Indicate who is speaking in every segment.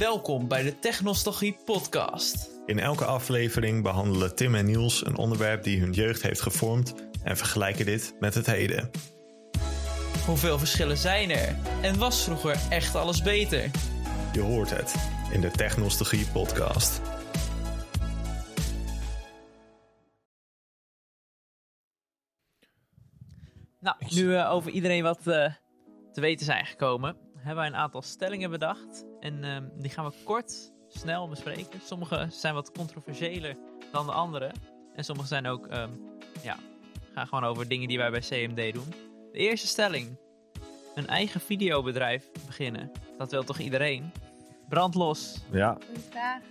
Speaker 1: Welkom bij de Technostalgie Podcast.
Speaker 2: In elke aflevering behandelen Tim en Niels een onderwerp die hun jeugd heeft gevormd en vergelijken dit met het heden.
Speaker 1: Hoeveel verschillen zijn er? En was vroeger echt alles beter?
Speaker 2: Je hoort het in de Technostalgie podcast.
Speaker 1: Nou, nu eh, over iedereen wat eh, te weten zijn gekomen, hebben wij een aantal stellingen bedacht. En ehm, die gaan we kort, snel bespreken. Sommige zijn wat controversiëler dan de andere. En sommige zijn ook, ehm, ja, gaan gewoon over dingen die wij bij CMD doen. De eerste stelling: een eigen videobedrijf beginnen. Dat wil toch iedereen? Brandlos.
Speaker 3: Ja,
Speaker 4: Goeie vraag.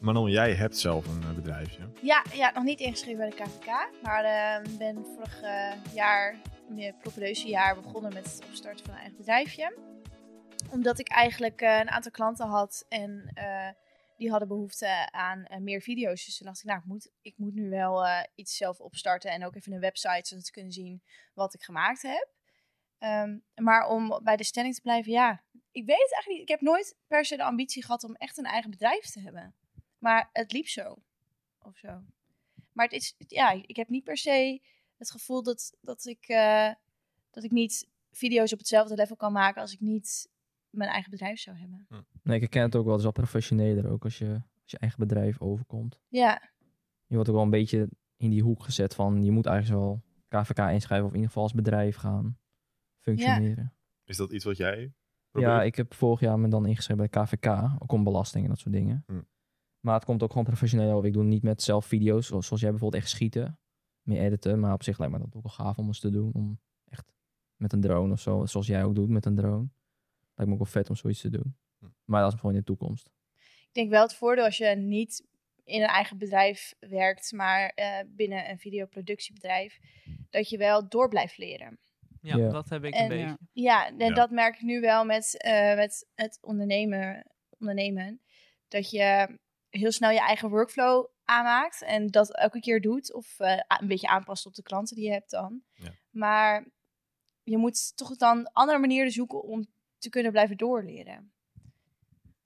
Speaker 3: Manon, jij hebt zelf een eh, bedrijfje.
Speaker 4: Ja, ja, nog niet ingeschreven bij de KVK. Maar eh, ben vorig eh, jaar, meer propedeuse jaar, begonnen met het opstarten van een eigen bedrijfje. Omdat ik eigenlijk eh, een aantal klanten had en eh, die hadden behoefte aan eh, meer video's. Dus toen dacht ik, nou, ik moet, ik moet nu wel eh, iets zelf opstarten en ook even een website, zodat ze kunnen zien wat ik gemaakt heb. Ehm, maar om bij de stelling te blijven, ja, ik weet het eigenlijk niet. Ik heb nooit per se de ambitie gehad om echt een eigen bedrijf te hebben. Maar het liep zo of zo. Maar het is, ja, ik heb niet per se het gevoel dat, dat, ik, eh, dat ik niet video's op hetzelfde level kan maken als ik niet mijn eigen bedrijf zou hebben.
Speaker 5: Nee, ik herken het ook wel. Het is wel professioneler ook als je, als je eigen bedrijf overkomt.
Speaker 4: Ja,
Speaker 5: Je wordt ook wel een beetje in die hoek gezet van je moet eigenlijk wel KVK inschrijven of in ieder geval als bedrijf gaan functioneren.
Speaker 3: Is dat iets wat jij
Speaker 5: Ja, ik heb vorig jaar me dan ingeschreven bij KVK, ook om belasting en dat soort dingen.
Speaker 3: Hm.
Speaker 5: Maar het komt ook gewoon professioneel over. Ik doe niet met zelf video's, zoals, zoals jij bijvoorbeeld echt schieten, meer editen. Maar op zich lijkt me dat ook wel gaaf om eens te doen, om echt met een drone of zo, zoals jij ook doet met een drone. Lijkt me ook wel vet om zoiets te doen.
Speaker 3: Hm.
Speaker 5: Maar dat is gewoon in de toekomst.
Speaker 4: ik denk wel het voordeel als je niet in een eigen bedrijf werkt, maar eh, binnen een videoproductiebedrijf, dat je wel door blijft leren.
Speaker 1: Ja,
Speaker 5: Ja.
Speaker 1: dat heb ik een
Speaker 4: En- eh,
Speaker 1: beetje.
Speaker 4: Ja, en
Speaker 3: Ja.
Speaker 4: dat merk ik nu wel met, eh, met het ondernemen, ondernemen. Dat je heel snel je eigen workflow aanmaakt en dat elke keer doet. Of eh, a- een beetje aanpast op de klanten die je hebt dan.
Speaker 3: Ja.
Speaker 4: Maar je moet toch dan andere manieren zoeken om te kunnen blijven doorleren.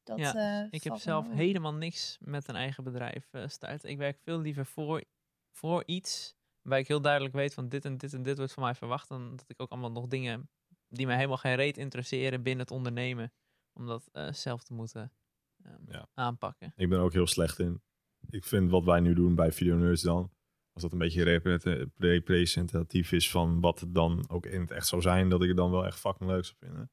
Speaker 4: Dat,
Speaker 1: Ja,
Speaker 4: eh,
Speaker 1: Ik heb
Speaker 4: valt
Speaker 1: zelf
Speaker 4: me wel op.
Speaker 1: helemaal niks met een eigen bedrijf eh starten. Ik werk veel liever voor, voor iets waar ik heel duidelijk weet van dit en dit en dit wordt van mij verwacht. Dan dat ik ook allemaal nog dingen die mij helemaal geen reet interesseren binnen het ondernemen. Om dat eh, zelf te moeten ehm,
Speaker 3: Ja.
Speaker 1: aanpakken.
Speaker 3: Ik ben er ook heel slecht in. Ik vind wat wij nu doen bij Video Nerds dan, als dat een beetje repre- representatief is van wat het dan ook in het echt zou zijn, dat ik het dan wel echt fucking leuk zou vinden.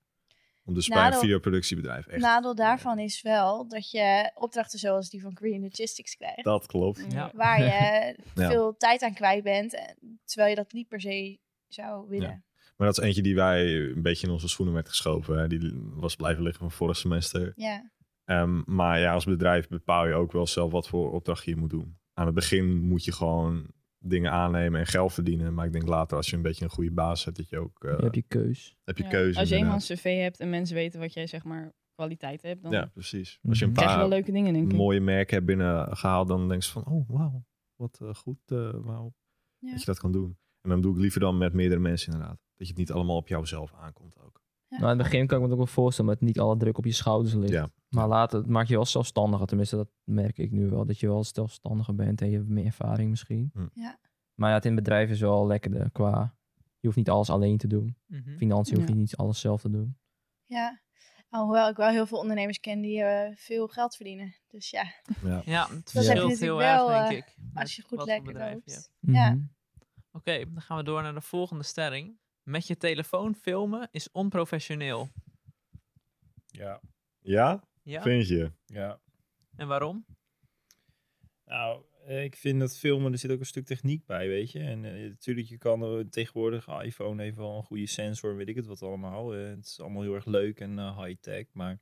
Speaker 3: Om dus bij
Speaker 4: Nadeel-
Speaker 3: een videoproductiebedrijf echt.
Speaker 4: Nadeel daarvan is wel dat je opdrachten zoals die van Green Logistics krijgt.
Speaker 3: Dat klopt.
Speaker 1: Ja.
Speaker 4: waar je
Speaker 3: Ja.
Speaker 4: veel tijd aan kwijt bent, en- terwijl je dat niet per se zou willen.
Speaker 3: Maar dat is eentje die wij een beetje in onze schoenen werd geschoven. Hè. Die was blijven liggen van vorig semester.
Speaker 4: Ja.
Speaker 3: Ehm, maar ja, als bedrijf bepaal je ook wel zelf wat voor opdracht je moet doen. Aan het begin moet je gewoon dingen aannemen en geld verdienen. Maar ik denk later, als je een beetje een goede baas hebt, dat je ook eh,
Speaker 5: Je hebt je keus.
Speaker 3: heb je
Speaker 6: Ja,
Speaker 3: keuze.
Speaker 6: Als je eenmaal een
Speaker 3: inderdaad.
Speaker 6: cv hebt en mensen weten wat jij zeg maar kwaliteit hebt, dan
Speaker 3: Ja, precies. Als je een
Speaker 5: Mhm.
Speaker 6: krijg je wel
Speaker 3: paar
Speaker 6: leuke dingen denk ik.
Speaker 3: mooie merken hebt binnengehaald, dan denk je van, oh wauw, wat eh, goed, eh, wauw,
Speaker 4: Ja.
Speaker 3: dat je dat kan doen. En dan doe ik liever dan met meerdere mensen inderdaad. Dat je het niet allemaal op jouzelf aankomt ook.
Speaker 5: Nou, in het begin kan ik me het ook wel voorstellen dat niet alle druk op je schouders ligt.
Speaker 3: Ja.
Speaker 5: Maar later, het maakt je wel zelfstandiger. Tenminste, dat merk ik nu wel. Dat je wel zelfstandiger bent en je hebt meer ervaring misschien.
Speaker 3: Hm.
Speaker 4: Ja.
Speaker 5: Maar ja, het in het bedrijf is wel lekkerder qua... Je hoeft niet alles alleen te doen.
Speaker 1: Mhm.
Speaker 5: Financiën hoef je
Speaker 6: Ja.
Speaker 5: niet alles zelf te doen.
Speaker 4: Ja, alhoewel ik wel heel veel ondernemers ken die eh, veel geld verdienen. Dus ja,
Speaker 3: Ja.
Speaker 1: Ja, het
Speaker 5: heb je
Speaker 1: verschilt
Speaker 4: natuurlijk
Speaker 1: heel
Speaker 4: wel,
Speaker 1: erg,
Speaker 4: eh,
Speaker 1: denk ik. met
Speaker 4: als je goed
Speaker 1: wat voor
Speaker 4: lekker
Speaker 1: bedrijf je
Speaker 4: loopt.
Speaker 1: hebt.
Speaker 4: Ja.
Speaker 5: Mhm.
Speaker 1: Oké, dan gaan we door naar de volgende stelling. Met je telefoon filmen is onprofessioneel.
Speaker 7: Ja,
Speaker 3: Ja,
Speaker 1: Ja?
Speaker 3: vind je?
Speaker 7: ja.
Speaker 1: En waarom?
Speaker 7: Nou, eh, ik vind dat filmen, er zit ook een stuk techniek bij, weet je. En eh, natuurlijk, je kan er tegenwoordig, iPhone heeft wel een goede sensor, weet ik het wat allemaal. Eh, het is allemaal heel erg leuk en eh, high-tech, maar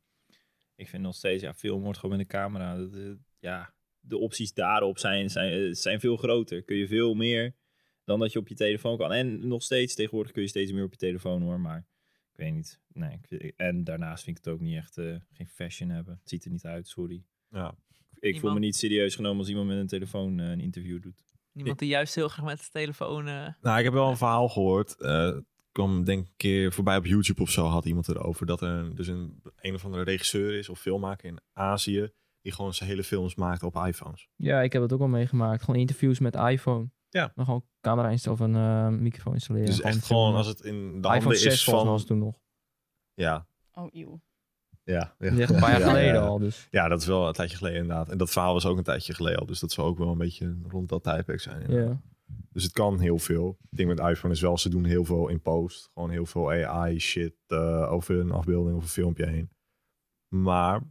Speaker 7: ik vind nog steeds, ja, film wordt gewoon met een camera. Dat, eh, ja, de opties daarop zijn, zijn, eh, zijn veel groter. Kun je veel meer dan dat je op je telefoon kan. En nog steeds, tegenwoordig kun je steeds meer op je telefoon hoor, maar ik weet niet. Nee, ik vind- en daarnaast vind ik het ook niet echt, eh, geen fashion hebben. Het ziet er niet uit, sorry.
Speaker 3: Ja.
Speaker 7: Ik voel me
Speaker 1: Iemand-
Speaker 7: niet serieus genomen als iemand met een telefoon eh, een interview doet.
Speaker 1: Iemand die juist heel graag met de telefoon... eh,
Speaker 3: Nou, ik heb wel een verhaal gehoord. eh, kwam denk ik een keer voorbij op YouTube of zo, had iemand erover. Dat er dus een, een of andere regisseur is of filmmaker in Azië. Die gewoon zijn hele films maakt op iPhones.
Speaker 5: Ja, ik heb dat ook al meegemaakt. Gewoon interviews met iPhone.
Speaker 3: Ja.
Speaker 5: Dan gewoon camera instellen of een eh, microfoon installeren.
Speaker 3: dus echt
Speaker 5: filmen.
Speaker 3: gewoon als het in de
Speaker 5: iPhone
Speaker 3: handen
Speaker 5: 6
Speaker 3: is
Speaker 5: volgens mij was
Speaker 3: van...
Speaker 5: het toen nog.
Speaker 3: Ja,
Speaker 6: Oh, eeuw.
Speaker 3: ja, ja.
Speaker 5: Dat is echt een paar jaar
Speaker 3: Ja,
Speaker 5: geleden
Speaker 3: ja.
Speaker 5: al. Dus.
Speaker 3: Ja, dat is wel een tijdje geleden inderdaad. En dat verhaal was ook een tijdje geleden al. Dus dat zou ook wel een beetje rond dat tijdperk zijn.
Speaker 5: Ja.
Speaker 3: inderdaad. Dus het kan heel veel. Het ding met iPhone is wel, ze doen heel veel in post. Gewoon heel veel AI shit eh, over een afbeelding of een filmpje heen. Maar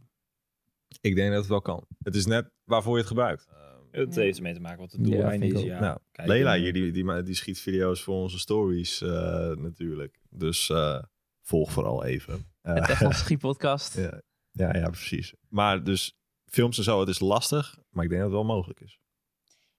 Speaker 3: ik denk dat het wel kan. Het is net waarvoor je het gebruikt.
Speaker 7: Het
Speaker 6: Ja.
Speaker 7: heeft ermee te maken wat het
Speaker 5: Ja,
Speaker 7: doeleinde
Speaker 5: vind ik
Speaker 7: is.
Speaker 5: ook.
Speaker 7: Ja,
Speaker 3: nou,
Speaker 7: Kijk,
Speaker 3: Lela
Speaker 7: eh,
Speaker 3: hier, die, die, ma- die schiet video's voor onze stories eh, natuurlijk. Dus eh, volg vooral even. Eh,
Speaker 1: Het echt een schietpodcast.
Speaker 3: Ja. ja, ja, precies. Maar dus films en zo, het is lastig. Maar ik denk dat het wel mogelijk is.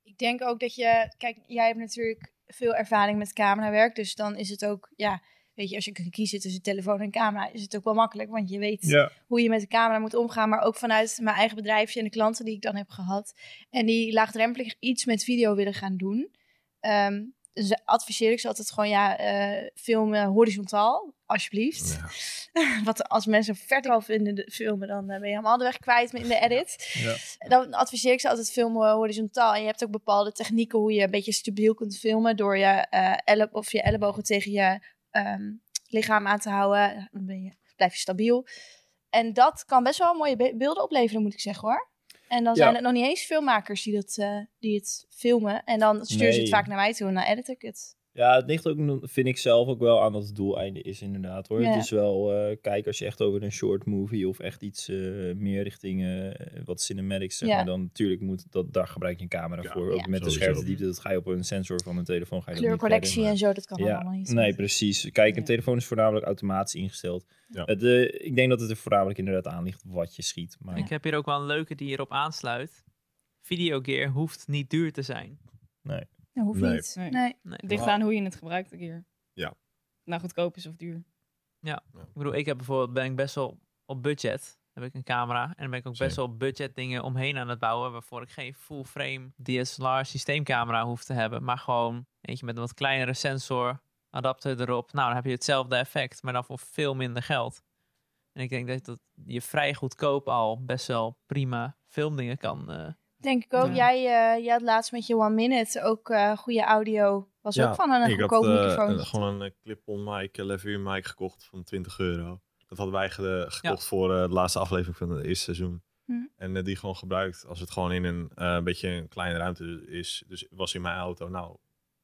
Speaker 4: Ik denk ook dat je, kijk, jij hebt natuurlijk veel ervaring met camerawerk, dus dan is het ook, ja, weet je, als je kunt kiezen tussen telefoon en camera, is het ook wel makkelijk, want je weet
Speaker 7: Ja.
Speaker 4: hoe je met de camera moet omgaan, maar ook vanuit mijn eigen bedrijfje en de klanten die ik dan heb gehad en die laagdrempelig iets met video willen gaan doen. Ehm, dus adviseer ik ze altijd gewoon, ja, eh filmen horizontaal, alsjeblieft.
Speaker 3: Ja.
Speaker 4: Want als mensen verticaal vinden de filmen, dan eh, ben je helemaal de weg kwijt in de edit.
Speaker 7: Ja.
Speaker 4: Dan adviseer ik ze altijd filmen horizontaal. En je hebt ook bepaalde technieken hoe je een beetje stabiel kunt filmen. Door je, eh elle of je ellebogen tegen je ehm, lichaam aan te houden. Dan ben je, blijf je stabiel. En dat kan best wel mooie be- beelden opleveren, moet ik zeggen hoor. En dan
Speaker 7: Ja.
Speaker 4: zijn het nog niet eens filmmakers die, dat, eh, die het filmen. En dan sturen ze het
Speaker 7: Nee.
Speaker 4: vaak naar mij toe en dan edit ik het.
Speaker 7: Ja, het ligt ook, vind ik zelf ook wel aan dat het doeleinde is, inderdaad hoor.
Speaker 4: Ja.
Speaker 7: Het is wel, eh, kijk, als je echt over een short movie of echt iets eh, meer richting eh, wat cinematics, zeg
Speaker 4: Ja.
Speaker 7: maar, dan natuurlijk moet dat, daar gebruik je een camera
Speaker 3: Ja,
Speaker 7: voor. Ook
Speaker 4: ja.
Speaker 7: met de
Speaker 3: sowieso.
Speaker 7: scherpte diepte, dat ga je op een sensor van een telefoon. Ga je dat niet verder.
Speaker 4: Kleurcorrectie en zo, dat kan
Speaker 7: Ja,
Speaker 4: allemaal niet.
Speaker 7: Nee, precies. Kijk, een
Speaker 4: Ja.
Speaker 7: telefoon is voornamelijk automatisch ingesteld.
Speaker 3: Ja.
Speaker 7: Het, eh, ik denk dat het er voornamelijk inderdaad aan ligt wat je schiet. Maar
Speaker 1: Ik heb hier ook wel een leuke die hierop aansluit. Videogear hoeft niet duur te zijn.
Speaker 4: Dat hoeft
Speaker 3: Nee.
Speaker 4: niet.
Speaker 6: Nee.
Speaker 4: nee.
Speaker 1: Nee.
Speaker 6: Het ligt aan hoe je het gebruikt een keer.
Speaker 3: Ja.
Speaker 6: Nou, goedkoop is of duur.
Speaker 1: Ik bedoel, ik heb bijvoorbeeld, ben ik best wel op budget. Heb ik een camera. En dan ben ik ook best wel op budget dingen omheen aan het bouwen. Waarvoor ik geen full frame DSLR systeemcamera hoef te hebben. Maar gewoon eentje met een wat kleinere sensor. Adapter erop. Nou, dan heb je hetzelfde effect. Maar dan voor veel minder geld. En ik denk dat, dat je vrij goedkoop al best wel prima filmdingen kan. eh,
Speaker 4: Denk ik ook.
Speaker 6: Ja.
Speaker 4: Jij, eh, jij had laatst met je One Minute ook eh, goede audio. Was
Speaker 3: Ja,
Speaker 4: ook van een
Speaker 3: ik had
Speaker 4: goedkoop
Speaker 3: eh,
Speaker 4: microfoon.
Speaker 3: een- gewoon een eh, clip-on mic, een lavalier mic gekocht van 20 euro. Dat hadden wij ge- gekocht voor eh, de laatste aflevering van het eerste seizoen.
Speaker 6: Mhm.
Speaker 4: Hm.
Speaker 3: En eh, die gewoon gebruikt als het gewoon in een eh, beetje een kleine ruimte is. Dus was in mijn auto, nou,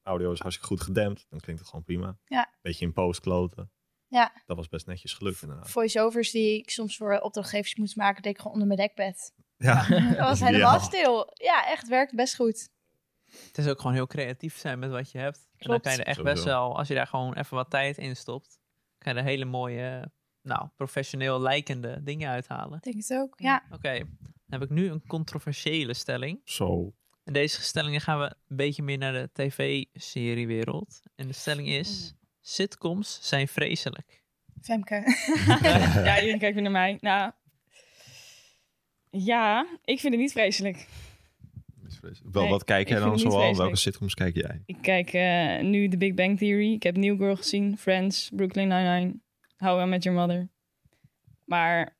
Speaker 3: audio is hartstikke goed gedempt. Dan klinkt het gewoon prima.
Speaker 4: Ja.
Speaker 3: Beetje in post kloten.
Speaker 4: Ja.
Speaker 3: Dat was best netjes gelukt inderdaad.
Speaker 4: Voice-overs die ik soms voor opdrachtgevers moest maken, deed ik gewoon onder mijn dekbed.
Speaker 3: Ja.
Speaker 4: Dat was
Speaker 3: ideaal.
Speaker 4: helemaal stil. Ja, echt, werkt best goed.
Speaker 1: Het is ook gewoon heel creatief zijn met wat je hebt. En dan
Speaker 4: Klopt.
Speaker 1: kan je er echt
Speaker 3: Sowieso.
Speaker 1: best wel, als je daar gewoon even wat tijd in stopt, kan je er hele mooie, nou, professioneel lijkende dingen uithalen.
Speaker 4: Ik Denk het ook.
Speaker 6: Ja.
Speaker 4: Ja,
Speaker 1: Oké, dan heb ik nu een controversiële stelling.
Speaker 3: Zo.
Speaker 1: En deze stellingen gaan we een beetje meer naar de tv-seriewereld. En de stelling is, sitcoms zijn vreselijk.
Speaker 4: Femke.
Speaker 6: ja, jullie kijken weer naar mij. Nou, ja, ik vind het niet vreselijk.
Speaker 3: Wel,
Speaker 6: Nee,
Speaker 3: wat kijk jij
Speaker 6: ik
Speaker 3: dan
Speaker 6: vind het niet
Speaker 3: zoal? Welke
Speaker 6: vreselijk.
Speaker 3: sitcoms kijk jij?
Speaker 6: Ik kijk eh, nu The Big Bang Theory. Ik heb New Girl gezien, Friends, Brooklyn Nine-Nine, How I Met Your Mother. Maar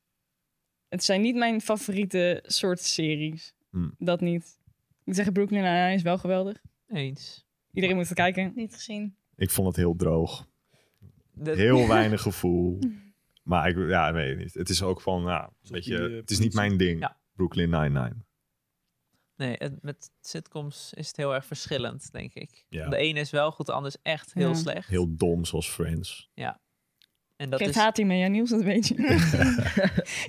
Speaker 6: het zijn niet mijn favoriete soort series.
Speaker 3: Hmm.
Speaker 6: Dat niet. Ik moet zeggen, Brooklyn Nine-Nine is wel geweldig.
Speaker 1: Eens.
Speaker 6: Iedereen moet het kijken.
Speaker 4: Niet gezien.
Speaker 3: Ik vond het heel droog.
Speaker 1: Dat-
Speaker 3: Heel weinig gevoel. Maar ik, ja, ik weet het niet. Het is ook van, nou, weet je,
Speaker 7: die, eh,
Speaker 3: het is niet
Speaker 7: politie-
Speaker 3: mijn ding.
Speaker 1: Ja.
Speaker 3: Brooklyn Nine-Nine.
Speaker 1: Nee, het- met sitcoms is het heel erg verschillend, denk ik.
Speaker 3: Ja.
Speaker 1: De ene is wel goed, de ander is echt heel
Speaker 6: Ja.
Speaker 1: slecht.
Speaker 3: Heel dom zoals Friends.
Speaker 1: en
Speaker 6: Ik
Speaker 1: dat
Speaker 6: Krijgt
Speaker 1: is...
Speaker 6: haat hiermee, ja Niels, dat weet je.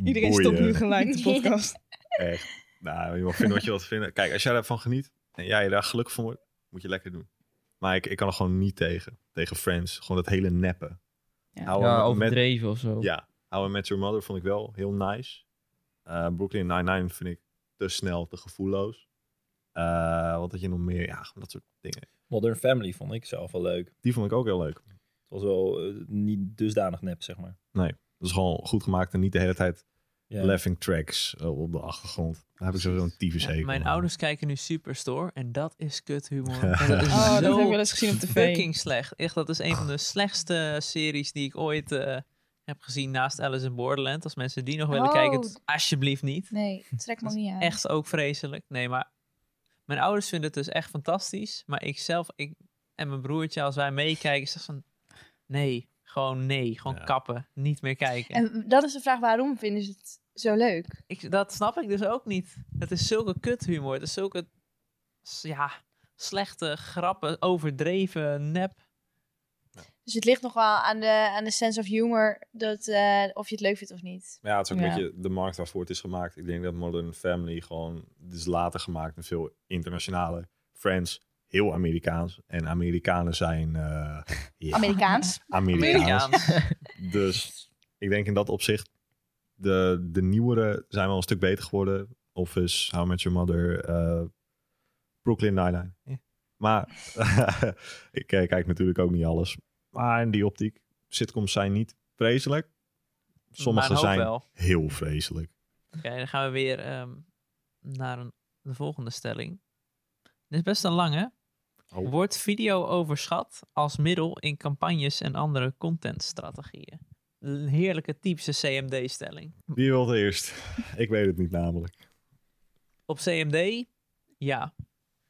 Speaker 6: Iedereen
Speaker 3: Boeien.
Speaker 6: stopt nu gelijk de podcast.
Speaker 3: Echt. Nou, je mag vinden wat je wilt vinden. Kijk, als jij daarvan geniet en jij daar gelukkig van wordt, moet je lekker doen. Maar ik, ik kan er gewoon niet tegen. Tegen Friends. Gewoon dat hele neppen.
Speaker 6: Ja.
Speaker 3: How I
Speaker 5: Ja,
Speaker 3: Met-
Speaker 5: overdreven of zo.
Speaker 3: Ja. How I Met Your Mother vond ik wel heel nice. Eh, Brooklyn Nine-Nine vind ik te snel, te gevoelloos. Eh, wat had je nog meer? Ja, dat soort dingen.
Speaker 7: Modern Family vond ik zelf wel leuk.
Speaker 3: Die vond ik ook heel leuk.
Speaker 7: Het was wel eh, niet dusdanig nep, zeg maar.
Speaker 3: Dat is gewoon goed gemaakt en niet de hele tijd
Speaker 7: Ja.
Speaker 3: laughing tracks eh, op de achtergrond. Daar heb ik sowieso een tyfus
Speaker 1: Ja,
Speaker 3: hekel
Speaker 1: mijn
Speaker 3: aan.
Speaker 1: ouders kijken nu Superstore en dat is kut humor. En dat is
Speaker 6: Oh, dat
Speaker 1: zo
Speaker 6: heb ik wel eens gezien op tv.
Speaker 1: fucking slecht. Echt, dat is een
Speaker 3: Oh.
Speaker 1: van de slechtste series die ik ooit eh, heb gezien naast Alice in Borderland. Als mensen die nog willen
Speaker 4: Oh.
Speaker 1: kijken, het- alsjeblieft niet.
Speaker 4: Nee, trek me
Speaker 1: Dat
Speaker 4: niet aan.
Speaker 1: Echt ook vreselijk. Nee, maar mijn ouders vinden het dus echt fantastisch. Maar ik zelf ik, en mijn broertje, als wij meekijken, zegt van nee, gewoon nee, gewoon
Speaker 3: Ja.
Speaker 1: kappen, niet meer kijken.
Speaker 4: En dat is de vraag, waarom vinden ze het zo leuk?
Speaker 1: Ik, dat snap ik dus ook niet. Het is zulke kuthumor. Het is zulke s- ja, slechte grappen, overdreven nep.
Speaker 4: Dus het ligt nog wel aan de, aan de sense of humor dat, eh, of je het leuk vindt of niet.
Speaker 3: Ja, het is ook
Speaker 6: Ja.
Speaker 3: een beetje de markt waarvoor het is gemaakt. Ik denk dat Modern Family gewoon, het is later gemaakt en veel internationale Friends, heel Amerikaans. En Amerikanen zijn eh, ja,
Speaker 4: Amerikaans.
Speaker 3: Amerikaans.
Speaker 1: Amerikaans.
Speaker 3: Dus ik denk in dat opzicht, de, de nieuwere zijn wel een stuk beter geworden. Office, How I Met Your Mother, eh, Brooklyn Nine-Nine. Maar ik eh, kijk natuurlijk ook niet alles. Maar in die optiek, sitcoms zijn niet vreselijk. Sommige
Speaker 1: maar een hoop
Speaker 3: zijn
Speaker 1: wel.
Speaker 3: heel vreselijk.
Speaker 1: Oké, dan gaan we weer ehm, naar een, de volgende stelling. Dit is best een lange.
Speaker 3: Oh.
Speaker 1: Wordt video overschat als middel in campagnes en andere contentstrategieën? Een heerlijke typische CMD-stelling.
Speaker 3: Wie wil het eerst? ik weet het niet namelijk.
Speaker 1: Op CMD, ja.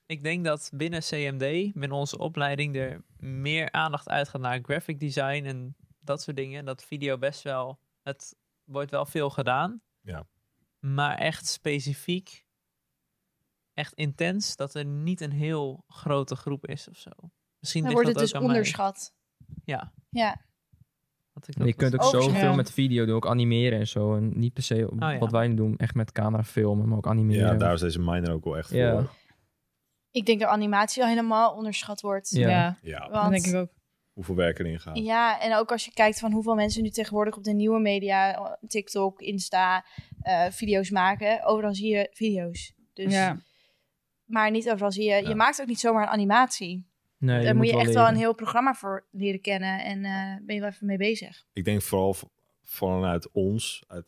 Speaker 1: Ik denk dat binnen CMD, binnen onze opleiding, er meer aandacht uitgaat naar graphic design en dat soort dingen. Dat video best wel, het wordt wel veel gedaan.
Speaker 3: Ja.
Speaker 1: Maar echt specifiek, echt intens, dat er niet een heel grote groep is of zo. Misschien
Speaker 4: Dan
Speaker 1: ligt
Speaker 4: wordt
Speaker 1: dat
Speaker 4: het dus
Speaker 1: ook aan mij.
Speaker 4: onderschat.
Speaker 1: Ja.
Speaker 4: Ja.
Speaker 1: Dat ik
Speaker 5: En
Speaker 1: dat
Speaker 5: je kunt ook
Speaker 1: was-
Speaker 4: Oh,
Speaker 5: zoveel
Speaker 6: ja.
Speaker 5: met video doen, ook animeren en zo. En niet per se op-
Speaker 1: ja.
Speaker 5: wat wij nu doen, echt met camera filmen, maar ook animeren.
Speaker 3: Ja, daar is deze minor ook wel echt voor.
Speaker 5: Ja.
Speaker 4: Ik denk dat animatie al helemaal onderschat wordt.
Speaker 5: Ja.
Speaker 6: Ja,
Speaker 3: Ja,
Speaker 6: dat
Speaker 4: Want
Speaker 6: denk ik ook.
Speaker 3: hoeveel werk erin gaat.
Speaker 4: Ja, en ook als je kijkt van hoeveel mensen nu tegenwoordig op de nieuwe media, eh, TikTok, Insta, eh, video's maken. Overal zie je video's. Dus,
Speaker 6: Ja.
Speaker 4: Maar niet overal zie je. Je
Speaker 3: Ja.
Speaker 4: maakt ook niet zomaar een animatie.
Speaker 5: Nee,
Speaker 4: Daar moet je echt wel
Speaker 5: leren.
Speaker 4: een heel programma voor leren kennen. En eh, ben je wel even mee bezig.
Speaker 3: ik denk vooral v- vanuit ons, uit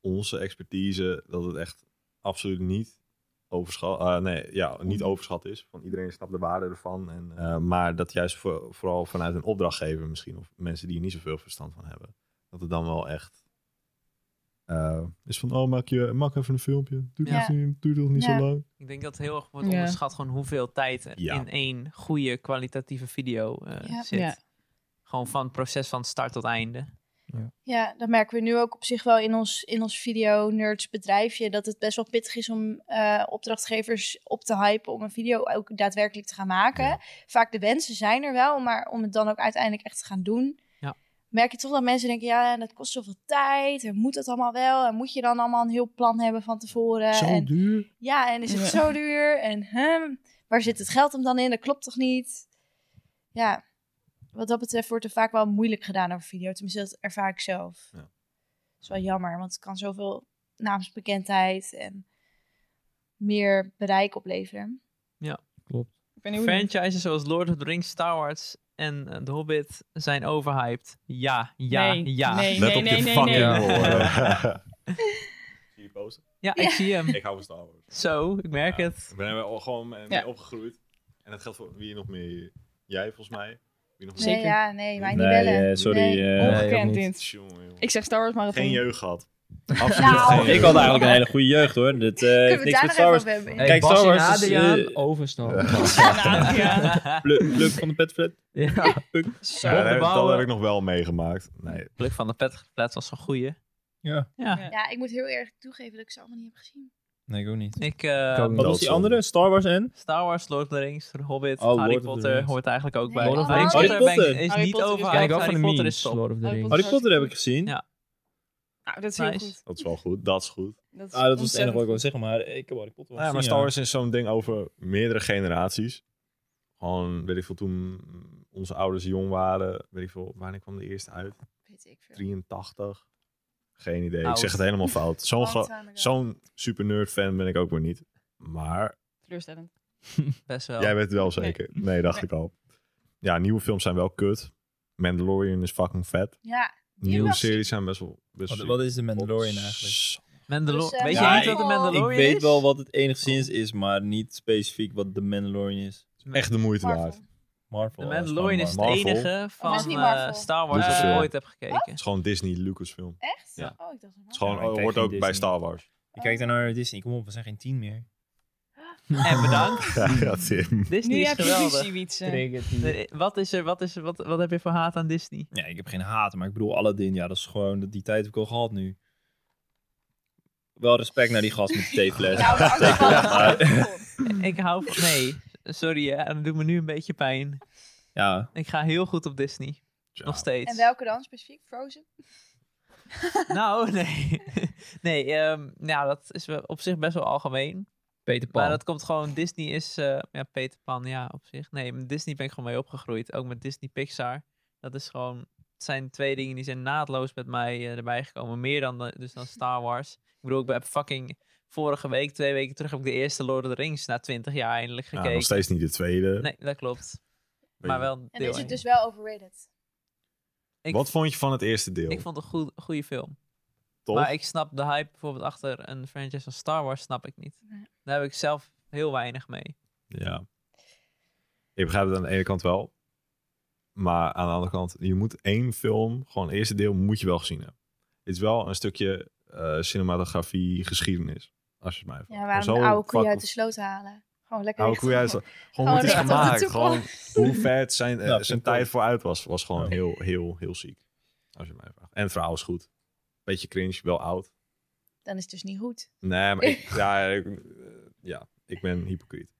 Speaker 3: onze expertise, dat het echt absoluut niet overschat, eh, nee, ja, niet overschat is. Van iedereen snapt de waarde ervan. En, eh, maar dat juist voor- vooral vanuit een opdrachtgever misschien, of mensen die er niet zoveel verstand van hebben, dat het dan wel echt eh, is van, oh, maak, je, maak even een filmpje. Duurt,
Speaker 4: Ja.
Speaker 3: nog niet, duurt nog niet
Speaker 4: Ja.
Speaker 3: zo lang.
Speaker 1: Ik denk dat heel erg wordt
Speaker 6: Ja.
Speaker 1: onderschat gewoon hoeveel tijd er
Speaker 3: Ja.
Speaker 1: in één goede kwalitatieve video eh,
Speaker 4: Ja.
Speaker 1: zit.
Speaker 6: Ja.
Speaker 1: Gewoon van het proces van start tot einde.
Speaker 4: Ja, dat merken we nu ook op zich wel in ons, in ons video-nerds bedrijfje. Dat het best wel pittig is om eh, opdrachtgevers op te hypen om een video ook daadwerkelijk te gaan maken.
Speaker 3: Ja.
Speaker 4: Vaak de wensen zijn er wel, maar om het dan ook uiteindelijk echt te gaan doen.
Speaker 1: Ja.
Speaker 4: Merk je toch dat mensen denken, ja, dat kost zoveel tijd. En moet dat allemaal wel? En moet je dan allemaal een heel plan hebben van tevoren? en,
Speaker 3: duur?
Speaker 4: Ja, en is het
Speaker 6: Ja.
Speaker 4: zo duur? En huh, waar zit het geld hem dan in? Dat klopt toch niet? Ja, wat dat betreft wordt er vaak wel moeilijk gedaan over video. Tenminste, dat ervaar ik zelf.
Speaker 3: Ja.
Speaker 4: Dat is wel jammer, want het kan zoveel naamsbekendheid en meer bereik opleveren.
Speaker 6: Ik ben heel benieuwd.
Speaker 1: Franchises zoals Lord of the Rings, Star Wars en eh, The Hobbit zijn overhyped. Ja, ja,
Speaker 6: Nee,
Speaker 1: ja.
Speaker 6: nee.
Speaker 3: Let op je fucking
Speaker 5: nee.
Speaker 3: woorden. Zie je posten?
Speaker 1: Ja, ik
Speaker 4: Ja.
Speaker 1: zie hem.
Speaker 3: Ik hou van Star Wars.
Speaker 1: Zo, ik merk
Speaker 3: Ja.
Speaker 1: het.
Speaker 3: Ik ben er al gewoon mee
Speaker 6: Ja.
Speaker 3: opgegroeid. En dat geldt voor wie nog meer. Jij volgens mij. Wie nog
Speaker 4: Nee,
Speaker 6: Zeker.
Speaker 4: ja, nee, mij niet
Speaker 7: Nee,
Speaker 4: bellen.
Speaker 7: eh, sorry.
Speaker 4: Nee.
Speaker 7: eh,
Speaker 5: Nee, ook
Speaker 6: Ongekend
Speaker 5: niet.
Speaker 6: dit.
Speaker 3: Tjonge, jonge.
Speaker 6: Ik zeg Star Wars Marathon.
Speaker 3: Geen jeugd gehad. Absoluut
Speaker 4: Nou.
Speaker 3: geen jeugd.
Speaker 7: ik had eigenlijk een hele goede jeugd hoor. Dit eh,
Speaker 4: Kunnen
Speaker 7: heeft
Speaker 4: we
Speaker 7: niks
Speaker 4: daar
Speaker 7: met
Speaker 4: nog
Speaker 7: Star
Speaker 4: even
Speaker 7: Wars.
Speaker 4: op hebben?
Speaker 5: Hey,
Speaker 7: Kijk,
Speaker 5: Bas
Speaker 7: Star
Speaker 5: en
Speaker 7: Wars is,
Speaker 5: Adriaan,
Speaker 7: eh,
Speaker 5: overstap.
Speaker 6: Ja, ja.
Speaker 7: Pluk pluk van de petflat.
Speaker 5: ja.
Speaker 7: Pluk.
Speaker 3: Ja, dat,
Speaker 1: Bob de
Speaker 3: heb- dat
Speaker 1: Bauer.
Speaker 3: heb ik nog wel meegemaakt. Nee.
Speaker 1: Blik van de pet geplaatst was een goeie.
Speaker 7: Ja.
Speaker 1: Ja,
Speaker 6: Ja.
Speaker 4: Ja, ik moet heel erg toegeven dat ik ze allemaal niet heb gezien.
Speaker 7: Nee, ik ook niet.
Speaker 1: ik... eh,
Speaker 5: Ik ook niet.
Speaker 7: Wat was die andere? Star Wars en?
Speaker 1: Star Wars, Lord of the Rings, The Hobbit,
Speaker 7: Oh, Lord
Speaker 1: Harry
Speaker 7: of the
Speaker 1: Potter
Speaker 7: Rings.
Speaker 1: hoort eigenlijk ook
Speaker 4: Nee,
Speaker 1: bij.
Speaker 4: Lord of the
Speaker 1: Harry
Speaker 4: Rings.
Speaker 1: Potter,
Speaker 7: Harry
Speaker 1: ben ik-
Speaker 7: Potter.
Speaker 1: is
Speaker 6: Harry
Speaker 1: niet
Speaker 6: Potter is-
Speaker 1: over.
Speaker 5: Kijk, ook van
Speaker 1: Harry
Speaker 5: de
Speaker 1: Potter
Speaker 5: memes,
Speaker 1: is top.
Speaker 5: Lord of the
Speaker 6: Harry
Speaker 5: Rings.
Speaker 6: Potter.
Speaker 7: Harry Potter heb ik gezien.
Speaker 1: Ja.
Speaker 6: Nou, dat is heel
Speaker 1: Nice.
Speaker 6: goed.
Speaker 3: Dat is wel goed. Dat is goed.
Speaker 6: Dat, is
Speaker 7: Ah, dat was het enige wat ik
Speaker 6: ontzettend
Speaker 7: wil zeggen, maar ik heb Harry Potter wel
Speaker 3: Ja, maar
Speaker 7: gezien,
Speaker 3: Star Wars is zo'n ding over meerdere generaties. Gewoon, weet ik veel, toen onze ouders jong waren. Weet ik veel, wanneer kwam de eerste uit?
Speaker 4: Weet ik veel.
Speaker 3: 83? Geen idee.
Speaker 6: Nou,
Speaker 1: Oud.
Speaker 3: Ik zeg het helemaal fout. Zo'n
Speaker 4: Long
Speaker 3: gro-
Speaker 4: time ago.
Speaker 3: Zo'n super nerd fan ben ik ook weer niet. Maar
Speaker 6: teleurstellend.
Speaker 1: Best wel.
Speaker 3: jij weet het wel zeker. Nee, dacht ik al. Ja, nieuwe films zijn wel kut. Mandalorian is fucking vet.
Speaker 4: Ja,
Speaker 3: Nieuwe
Speaker 4: was-
Speaker 3: series zijn best wel... Best
Speaker 7: Wat, wat is de Mandalorian
Speaker 3: Wat
Speaker 7: eigenlijk?
Speaker 3: s-
Speaker 1: Mandalor-
Speaker 4: Dus, eh,
Speaker 1: weet
Speaker 7: ja,
Speaker 1: je niet
Speaker 7: ik-
Speaker 1: wat de
Speaker 7: Ik
Speaker 1: Mandalorian is?
Speaker 7: weet wel wat het enigszins is, maar niet specifiek wat de Mandalorian is.
Speaker 3: Echt de moeite
Speaker 4: Marvel.
Speaker 3: waard. Het
Speaker 7: Marvel.
Speaker 1: De Mandalorian is het
Speaker 3: Marvel.
Speaker 1: enige van
Speaker 4: niet
Speaker 1: eh,
Speaker 4: Marvel?
Speaker 1: Star Wars dat ik
Speaker 3: Lucasfilm.
Speaker 1: ooit heb gekeken.
Speaker 3: is gewoon Disney Lucasfilm. Het
Speaker 4: Echt?
Speaker 3: Ja.
Speaker 4: Oh, ik dacht dat
Speaker 3: is gewoon,
Speaker 7: Ja, maar ik kijk
Speaker 3: hoort
Speaker 7: geen
Speaker 3: ook bij
Speaker 7: Disney.
Speaker 3: Star Wars.
Speaker 7: Ik kijk naar Disney. Kom op, we zijn geen tien meer.
Speaker 1: En bedankt.
Speaker 3: Ja, ja, Tim.
Speaker 1: Disney
Speaker 6: Nu
Speaker 1: is
Speaker 6: heb je
Speaker 1: geweldig.
Speaker 6: ruzie, Wietse.
Speaker 7: Nee.
Speaker 1: Nee, Wat, is er, wat, is er, wat, wat heb je voor haat aan Disney?
Speaker 7: Ja, ik heb geen haat, maar ik bedoel Aladdin. Ja, dat is gewoon, die tijd heb ik al gehad nu. Wel respect naar die gast met de theefles.
Speaker 4: Ja, maar als je
Speaker 7: Maar-
Speaker 1: Ik hou van... Nee, sorry, hè, dat doet me nu een beetje pijn.
Speaker 7: ja,
Speaker 1: Ik ga heel goed op Disney. Nog steeds.
Speaker 4: En welke dan specifiek? Frozen?
Speaker 1: Nou, nee. nee, ehm, nou, dat is wel op zich best wel algemeen.
Speaker 5: Peter Pan.
Speaker 1: Maar dat komt gewoon, Disney is... eh, ja, Peter Pan, ja, op zich. Nee, met Disney ben ik gewoon mee opgegroeid. Ook met Disney Pixar. Dat is gewoon... Het zijn twee dingen die zijn naadloos met mij eh, erbij gekomen. Meer dan, de- dus dan Star Wars. Ik bedoel, ik heb fucking... Vorige week, twee weken terug, heb ik de eerste Lord of the Rings na twintig jaar eindelijk
Speaker 3: Ja,
Speaker 1: gekeken.
Speaker 3: nog steeds niet de tweede.
Speaker 1: nee, dat klopt.
Speaker 3: Weet
Speaker 1: Maar
Speaker 3: je.
Speaker 1: wel deel
Speaker 4: En is
Speaker 1: één.
Speaker 4: het dus wel overrated?
Speaker 1: ik-
Speaker 3: Wat vond je van het eerste deel?
Speaker 1: Ik vond het een goe- goede film.
Speaker 3: Tof?
Speaker 1: Maar ik snap de hype bijvoorbeeld achter een franchise als Star Wars, snap ik niet.
Speaker 4: Nee.
Speaker 1: Daar heb ik zelf heel weinig mee.
Speaker 3: Ja. Ik begrijp het aan de ene kant wel. Maar aan de andere kant, je moet één film, gewoon het eerste deel, moet je wel gezien hebben. Het is wel een stukje eh, cinematografie, geschiedenis. Als je het mij
Speaker 4: Ja,
Speaker 3: vraagt.
Speaker 4: waarom
Speaker 3: Zo
Speaker 4: de oude koeien
Speaker 3: fuck-
Speaker 4: uit de sloot halen? Gewoon lekker
Speaker 3: Oude koeien uit de- Gewoon hoe
Speaker 4: Gewoon
Speaker 3: het is
Speaker 4: recht op de
Speaker 3: gemaakt. Gewoon
Speaker 4: toekomst.
Speaker 3: hoe ver het zijn, eh,
Speaker 7: Ja, vind
Speaker 3: zijn
Speaker 7: ik ook.
Speaker 3: tijd vooruit was, was gewoon
Speaker 7: Ja.
Speaker 3: heel, heel, heel ziek. Als je het mij vraagt. En het verhaal is goed. Beetje cringe, wel oud.
Speaker 4: Dan is het dus niet goed.
Speaker 3: Nee, maar ik, ja, ik, eh, ja, ik ben hypocriet.